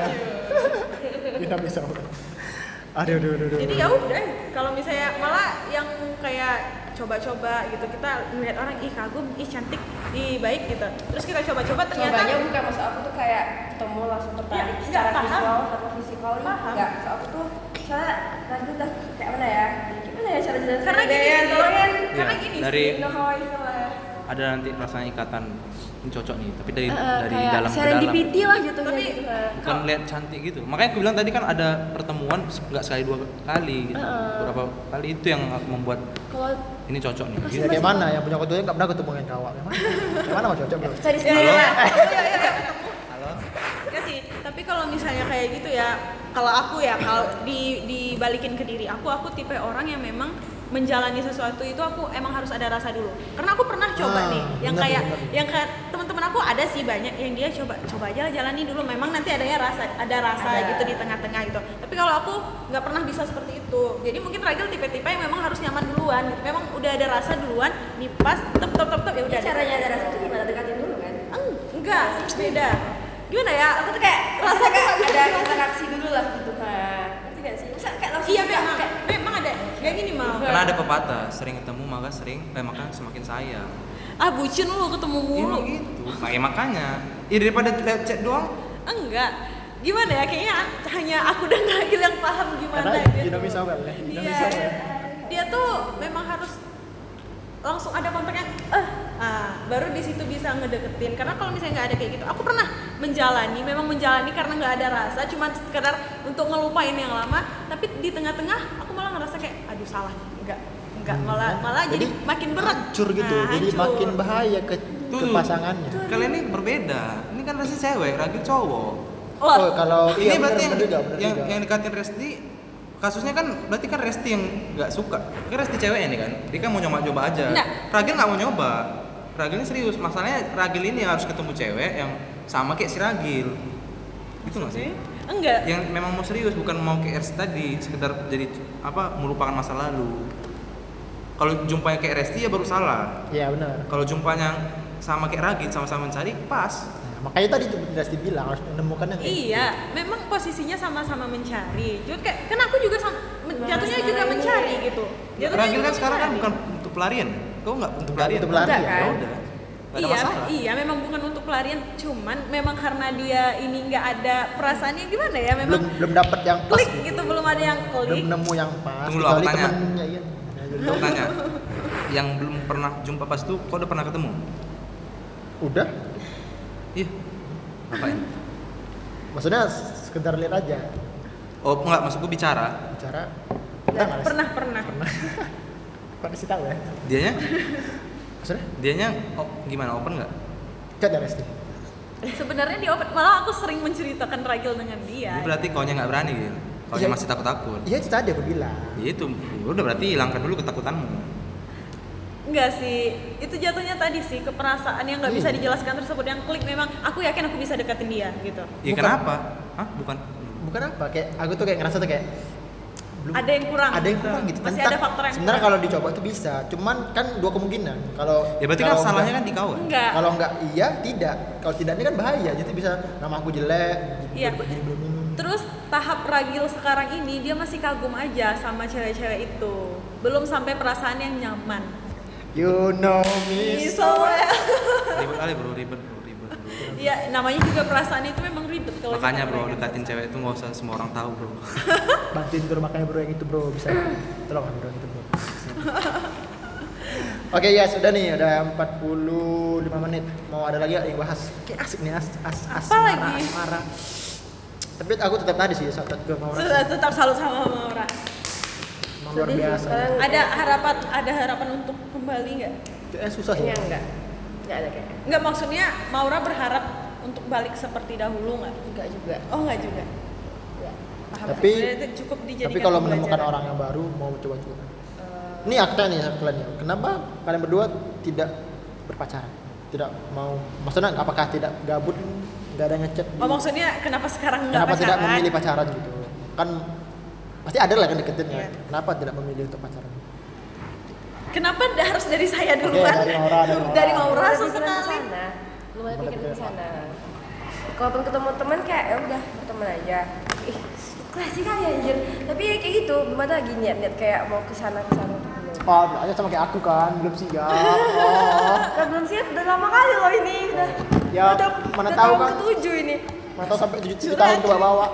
A: you know me so well aduh aduh aduh, aduh.
C: jadi ya udah. Kalau misalnya malah yang kayak coba-coba gitu kita melihat orang ih kagum ih cantik ih baik gitu terus kita coba-coba ternyata
E: Cobanya bukan maksud aku tuh kayak ketemu langsung tertarik
C: Ya,
E: secara
C: nggak, paham.
E: visual atau fisikal
C: Paham.
E: enggak. Maksud aku tuh cara lanjut dah kayak mana ya? Gimana ya cara jelasin?
C: karena gini
E: ya,
C: sih,
E: tolongin.
C: karena
B: Iya,
C: gini
B: dari-
C: sih
E: You know how I feel lah. ya.
B: Ada nanti rasanya ikatan ini cocok nih, tapi dari
E: Eh, eh,
B: dari dalam ke
E: kayak
B: dalam.
E: serendipity lah jatuhnya
C: Tapi-
E: gitu lah.
B: Bukan lihat cantik gitu. Makanya aku bilang tadi kan ada pertemuan se- nggak sekali dua kali gitu.
E: Heeh.
B: Berapa kali itu yang aku membuat
E: Kalau
B: ini cocok nih.
A: Ya, kayak mana yang punya kutunya nggak pernah ketemu dengan kawak Kayak mana? Kayak mana mau cocok bro
E: cari sendiri lah.
C: Iya, Enggak sih, tapi kalau misalnya kayak gitu ya, kalau aku ya kalau di dibalikin ke diri aku, aku tipe orang yang memang menjalani sesuatu itu aku emang harus ada rasa dulu. Karena aku pernah coba
A: Ah,
C: nih, yang
A: benar,
C: kayak
A: benar.
C: yang kayak teman-teman aku ada sih banyak yang dia coba coba aja lah jalani dulu. Memang nanti adanya rasa ada rasa
E: Ada.
C: gitu di tengah-tengah gitu. Tapi kalau aku nggak pernah bisa seperti itu. Jadi mungkin Ragil tipe-tipe yang memang harus nyaman duluan. Gitu. Memang udah ada rasa duluan, nih pas tep tep tep tep ya
E: Jadi
C: udah.
E: caranya ada rasa tuh gimana dekatin dulu kan?
C: Eng, enggak, beda. Gimana ya?
E: Aku tuh kayak
C: Rasa
E: rasa
C: kayak
E: kayak
C: nggak
E: ada
C: bisa.
E: interaksi dulu lah gitu kan. Ngerti gak sih? Masa kayak langsung
C: Iya
E: suka,
C: memang,
E: kayak
C: memang ada kayak gini mau.
B: Karena ada pepatah, sering ketemu maka sering eh maka semakin sayang.
C: ah bucin lu ketemu
E: Oh,
B: Iya
C: mulu
B: emang gitu. Kayak makanya. Ya daripada lihat chat doang.
C: enggak gimana ya kayaknya hanya aku dan Nail yang paham gimana
A: Karena
C: gitu
A: dinamis awal ya.
C: iya dia- dia tuh memang harus langsung ada kontaknya eh ah, baru di situ bisa ngedeketin karena kalau misalnya nggak ada kayak gitu aku pernah menjalani memang menjalani karena nggak ada rasa cuman sekedar untuk ngelupain yang lama tapi di tengah-tengah aku malah ngerasa kayak aduh salah nih, enggak enggak malah malah jadi, makin berat
A: Hmm, ya. hancur gitu
C: Nah,
A: jadi
C: hancur.
A: makin bahaya ke, ke
B: Tuh.
A: pasangannya
B: Kalian ini berbeda. Ini kan Resti cewek, Ragil cowok.
C: Lot.
A: oh kalau iya,
B: ini berarti
A: bener,
B: yang,
A: bener juga, bener
B: yang,
A: juga.
B: yang dikatain Resti kasusnya kan berarti kan Resti yang nggak suka kan Resti cewek ini kan dia kan mau nyoba-nyoba aja
C: Nggak.
B: Ragil nggak mau nyoba Ragilnya serius masalahnya Ragil ini yang harus ketemu cewek yang sama kayak si Ragil itu nggak sih
C: enggak
B: yang memang mau serius bukan mau kayak Resti tadi sekedar jadi apa melupakan masa lalu kalau jumpanya kayak Resti ya baru salah
A: iya benar
B: kalau jumpanya sama kayak Ragil sama-sama mencari pas
A: Nah, makanya tadi tuh Dasti bilang harus menemukan yang kayak
C: Iya, memang posisinya sama-sama mencari. Cuma kayak, kan aku juga sama, men-
E: Nah,
C: jatuhnya
E: sekarang
C: juga
E: ini-
C: mencari gitu. Jatuhnya
B: Ragil
C: juga
B: iya. kan sekarang kan
C: mencari.
B: bukan untuk pelarian kau nggak untuk
A: Nggak
B: pelarian
A: untuk pelarian.
E: Enggak
B: Ya
E: kan?
B: udah. Gak ada
C: Iya,
B: masalah.
C: iya, memang bukan untuk pelarian. Cuman memang karena dia ini nggak ada perasaannya gimana ya, memang
A: belum belum dapat yang pas
C: klik gitu belum ada yang klik.
A: belum nemu yang pas
B: Tunggu lah, aku
A: kecuali
B: tanya.
A: temennya, iya. Nah, jadi-
B: Aku tanya, yang belum pernah jumpa pas itu, kau udah pernah ketemu?
A: udah
B: Iya. Ngapain?
A: maksudnya sekedar lihat aja
B: Oh, enggak, maksudku bicara.
A: bicara
C: Nah,
A: Pernah nggak, Des?
C: Pernah, pernah.
A: Pak Desi tahu ya
B: Dianya,
A: maksudnya
B: dianya oh, gimana open nggak?
A: gak ada Desti
C: Sebenarnya dia open, malah aku sering menceritakan Ragil dengan dia.
B: Ini berarti kaunya nggak berani gitu. Kaunya
A: Iya.
B: masih takut-takut.
A: iya itu tadi aku bilang
B: Ya itu, Ya udah berarti hilangkan dulu ketakutanmu.
C: Enggak sih, itu jatuhnya tadi sih ke perasaan yang
B: Oh,
C: nggak bisa
A: Iya.
C: dijelaskan tersebut yang klik memang aku yakin aku bisa deketin dia gitu.
B: Ya
A: Bukan.
B: kenapa? Hah, bukan.
A: bukan apa kayak aku tuh kayak ngerasa tuh kayak belum-
C: Ada yang kurang.
A: ada yang kurang gitu kan.
C: Masih ada
A: Tak-
C: faktor yang
A: sebenarnya
C: kurang.
A: kalau dicoba tuh bisa cuman kan dua kemungkinan kalau
B: Ya berarti kan
A: kalau
B: salahnya kan
A: enggak-
B: di kau. kan?
C: enggak.
A: kalau enggak iya tidak kalau tidak ini kan bahaya jadi bisa nama aku jelek
C: Iya.
A: jadi begini, belum minum
C: Terus tahap ragil sekarang ini dia masih kagum aja sama cewek-cewek itu. Belum sampai perasaan yang nyaman.
A: you know me
C: So well.
B: Ribet kali bro, ribet bro, ribet bro.
C: Iya, namanya juga perasaan itu memang ribet kalau
B: Makanya
C: kita
B: bro,
C: meragil.
B: dekatin cewek itu nggak usah semua orang tahu bro.
A: bantuin bro makanya bro yang itu bro bisa tolong bro yang itu bro Oke ya sudah nih udah 45 menit mau ada lagi nggak yang bahas kayak asik nih as as as
C: Apa lagi?
A: asmara. tapi aku tetap tadi sih saat gue mau
C: Tetap- tetap salut sama Maura.
A: Emang luar biasa
E: Sedih sih,
C: Ada harapan ada harapan untuk kembali nggak?
A: itu eh, susah sih
C: Iya,
E: kayaknya Iya, enggak enggak ada kayaknya
C: Nggak maksudnya Maura berharap untuk balik seperti dahulu nggak?
E: enggak juga Iya.
C: Oh nggak juga.
E: enggak
C: Paham.
A: Tapi-
C: Jadi itu cukup dijadikan
A: tapi kalau menemukan
C: pembelajaran.
A: orang yang baru mau coba-coba
E: Eh,
A: ini akta nih kalian nih kenapa kalian berdua tidak berpacaran tidak mau maksudnya apakah tidak gabut nggak ada ngechat
C: Oh maksudnya kenapa sekarang nggak
A: kenapa tidak
C: pacaran?
A: memilih pacaran gitu kan pasti ada lah kan deketinnya
C: Iya.
A: kenapa tidak memilih untuk pacaran
C: Kenapa da- harus dari saya
A: Oke,
C: duluan?
A: dari Maura, dari Maura.
C: Dari Maura
E: Mulai pikiran ke
C: sesekali.
E: sana. Lu mulai
A: Mulai
E: pikiran ke
A: pikiran.
E: sana. Kalaupun ketemu teman kayak ya udah berteman aja. Ih, klasik kali anjir. Tapi ya kayak gitu, belum ada lagi niat-niat kayak mau ke sana ke sana tuh belum.
A: oh aja sama kayak aku kan belum siap oh
E: Kan belum siap udah lama kali loh ini. Udah.
A: Ya,
E: udah,
A: mana tahu
E: udah tahun
A: kan.
E: ketujuh ini.
A: mana tahu sampai tujuh tujuh
C: Curhat.
A: tahun tua bawa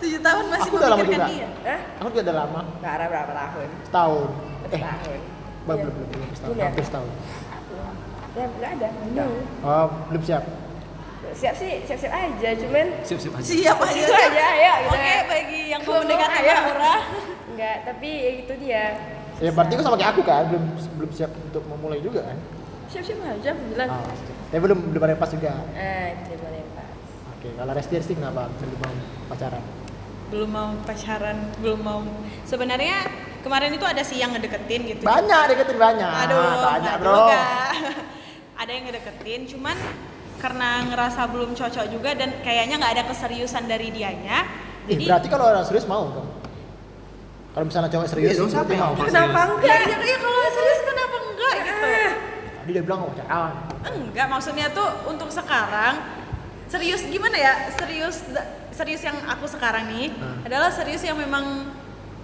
C: Tujuh tahun masih
A: Aku udah lama
C: memikirkan
A: juga.
C: dia.
E: Hah?
A: aku juga udah lama
E: Enggak ada berapa tahun.
A: setahun eh
E: Setahun.
A: belum
E: Iya.
A: belum belum, belum setahun
E: Udah.
A: hampir setahun
E: Ya, enggak ada. Belum.
A: oh belum siap
E: Siap sih, siap-siap aja, cuman
B: Siap-siap aja.
C: Siap aja.
E: siap aja ayo
C: Oke
E: gitu.
C: bagi yang mau
E: Belum,
C: mendekati
E: ayo.
C: Maura.
E: Enggak, tapi ya itu dia.
A: ya berarti aku sama kayak aku kan belum belum siap untuk memulai juga kan
E: siap-siap aja aku
C: Eh.
E: bilang.
A: oh, ya belum belum ada yang pas juga
E: Ah, itu dia boleh, Pak.
A: oke kalau resti resti kenapa belum mau pacaran
C: Belum mau pacaran, belum mau. Sebenarnya kemarin itu ada sih yang ngedeketin gitu.
A: banyak deketin banyak
C: Aduh,
A: banyak
C: nggak
A: bro
C: juga. ada yang ngedeketin, cuman karena ngerasa belum cocok juga dan kayaknya nggak ada keseriusan dari dianya.
A: Ih,
C: Jadi
A: berarti kalau orang serius mau dong. Kalau misalnya cowok
D: Oh
A: serius,
B: Iya dong, siapa
A: berarti
B: yang mau?
E: Kenapa
C: ya,
E: enggak?
C: ya, ya kalau serius kenapa enggak gitu?
A: Tadi dia bilang nggak pacaran.
C: Enggak, maksudnya tuh untuk sekarang serius gimana ya? Serius serius yang aku sekarang nih
A: Hmm.
C: adalah serius yang memang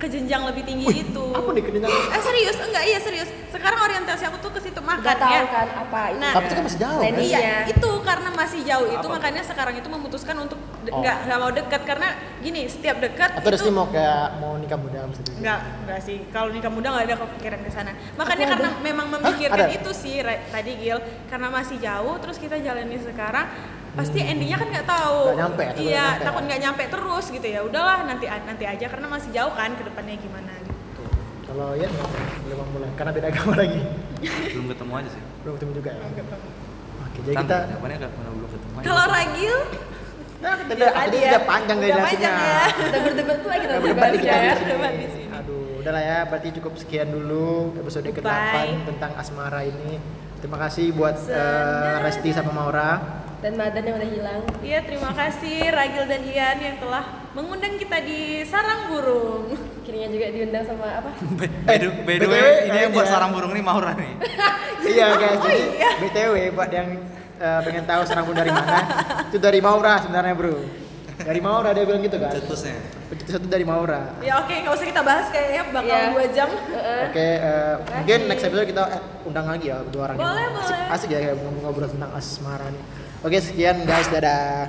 C: ke jenjang lebih tinggi itu.
A: Apa nih kedengar?
C: Eh serius, enggak iya serius. Sekarang orientasi aku tuh ke situ makan
E: Gak tahu
C: ya.
E: kan apa itu.
C: Nah,
A: Tapi itu kan masih jauh kan?
E: Landing.
C: Iya,
E: Iya.
C: itu karena masih jauh itu
A: Apa?
C: makanya sekarang itu memutuskan untuk de-
A: Oh.
C: nggak nggak mau dekat karena gini setiap dekat
A: Atau Resti
C: itu
A: mau kayak mau nikah muda gitu. abis itu?
C: nggak nggak sih kalau nikah muda nggak ada kepikiran ke sana makanya
A: Apa
C: karena
A: ada?
C: memang
A: Hah?
C: memikirkan
A: Ada?
C: itu sih Re- tadi Gil karena masih jauh terus kita jalani sekarang pasti endingnya kan nggak tahu
A: Hmm. Nggak nyampe, takut
C: iya
A: nggak nyampe.
C: takut nggak nyampe terus gitu ya udahlah nanti nanti aja karena masih jauh kan ke depannya gimana gitu.
A: Kalau ya belum mulai karena beda agama lagi.
D: belum ketemu aja sih
A: Belum ketemu juga ya. Oke, jadi
D: Kan
A: kita
B: ya.
D: jawabannya udah pernah belum ketemu aja.
C: kalau Ragil
A: Nah, kita udah, aku
C: tadi
A: tuh
C: ya.
A: udah panjang
C: Udah
A: relasinya.
C: panjang ya.
E: Udah berdebat tuh lagi
A: Udah
E: nanti
A: berdebat
E: bahas
A: di kita
E: ya.
A: di
C: Berdebat di
A: sini.
C: sini.
A: Aduh, udah lah ya. Berarti cukup sekian dulu episode
C: Goodbye.
A: ke-8 tentang asmara ini. Terima kasih buat eh,
C: Senada.
A: Resti sama Maura.
E: Dan Madan yang udah hilang.
C: Iya, terima kasih Ragil dan Ian yang telah mengundang kita di sarang burung.
E: Akhirnya juga diundang sama apa?
D: By- by the- by the
A: BTW,
D: way, ini ya. yang buat
A: iya.
D: sarang burung nih Maura nih
A: iya guys, jadi BTW buat yang eh, pengen tahu serang dari mana, itu dari Maura sebenarnya bro. Dari Maura dia bilang gitu kan.
D: cetusnya
A: Itu satu dari Maura.
C: Ya oke, nggak usah kita bahas kayaknya bakal
E: Iya.
C: dua jam.
A: Oke, eh, mungkin next episode kita eh, undang lagi ya dua orang. yang
C: Boleh,
A: asik,
C: boleh.
A: asik ya kayak ngobrol tentang asmara nih. Oke, sekian guys, dadah.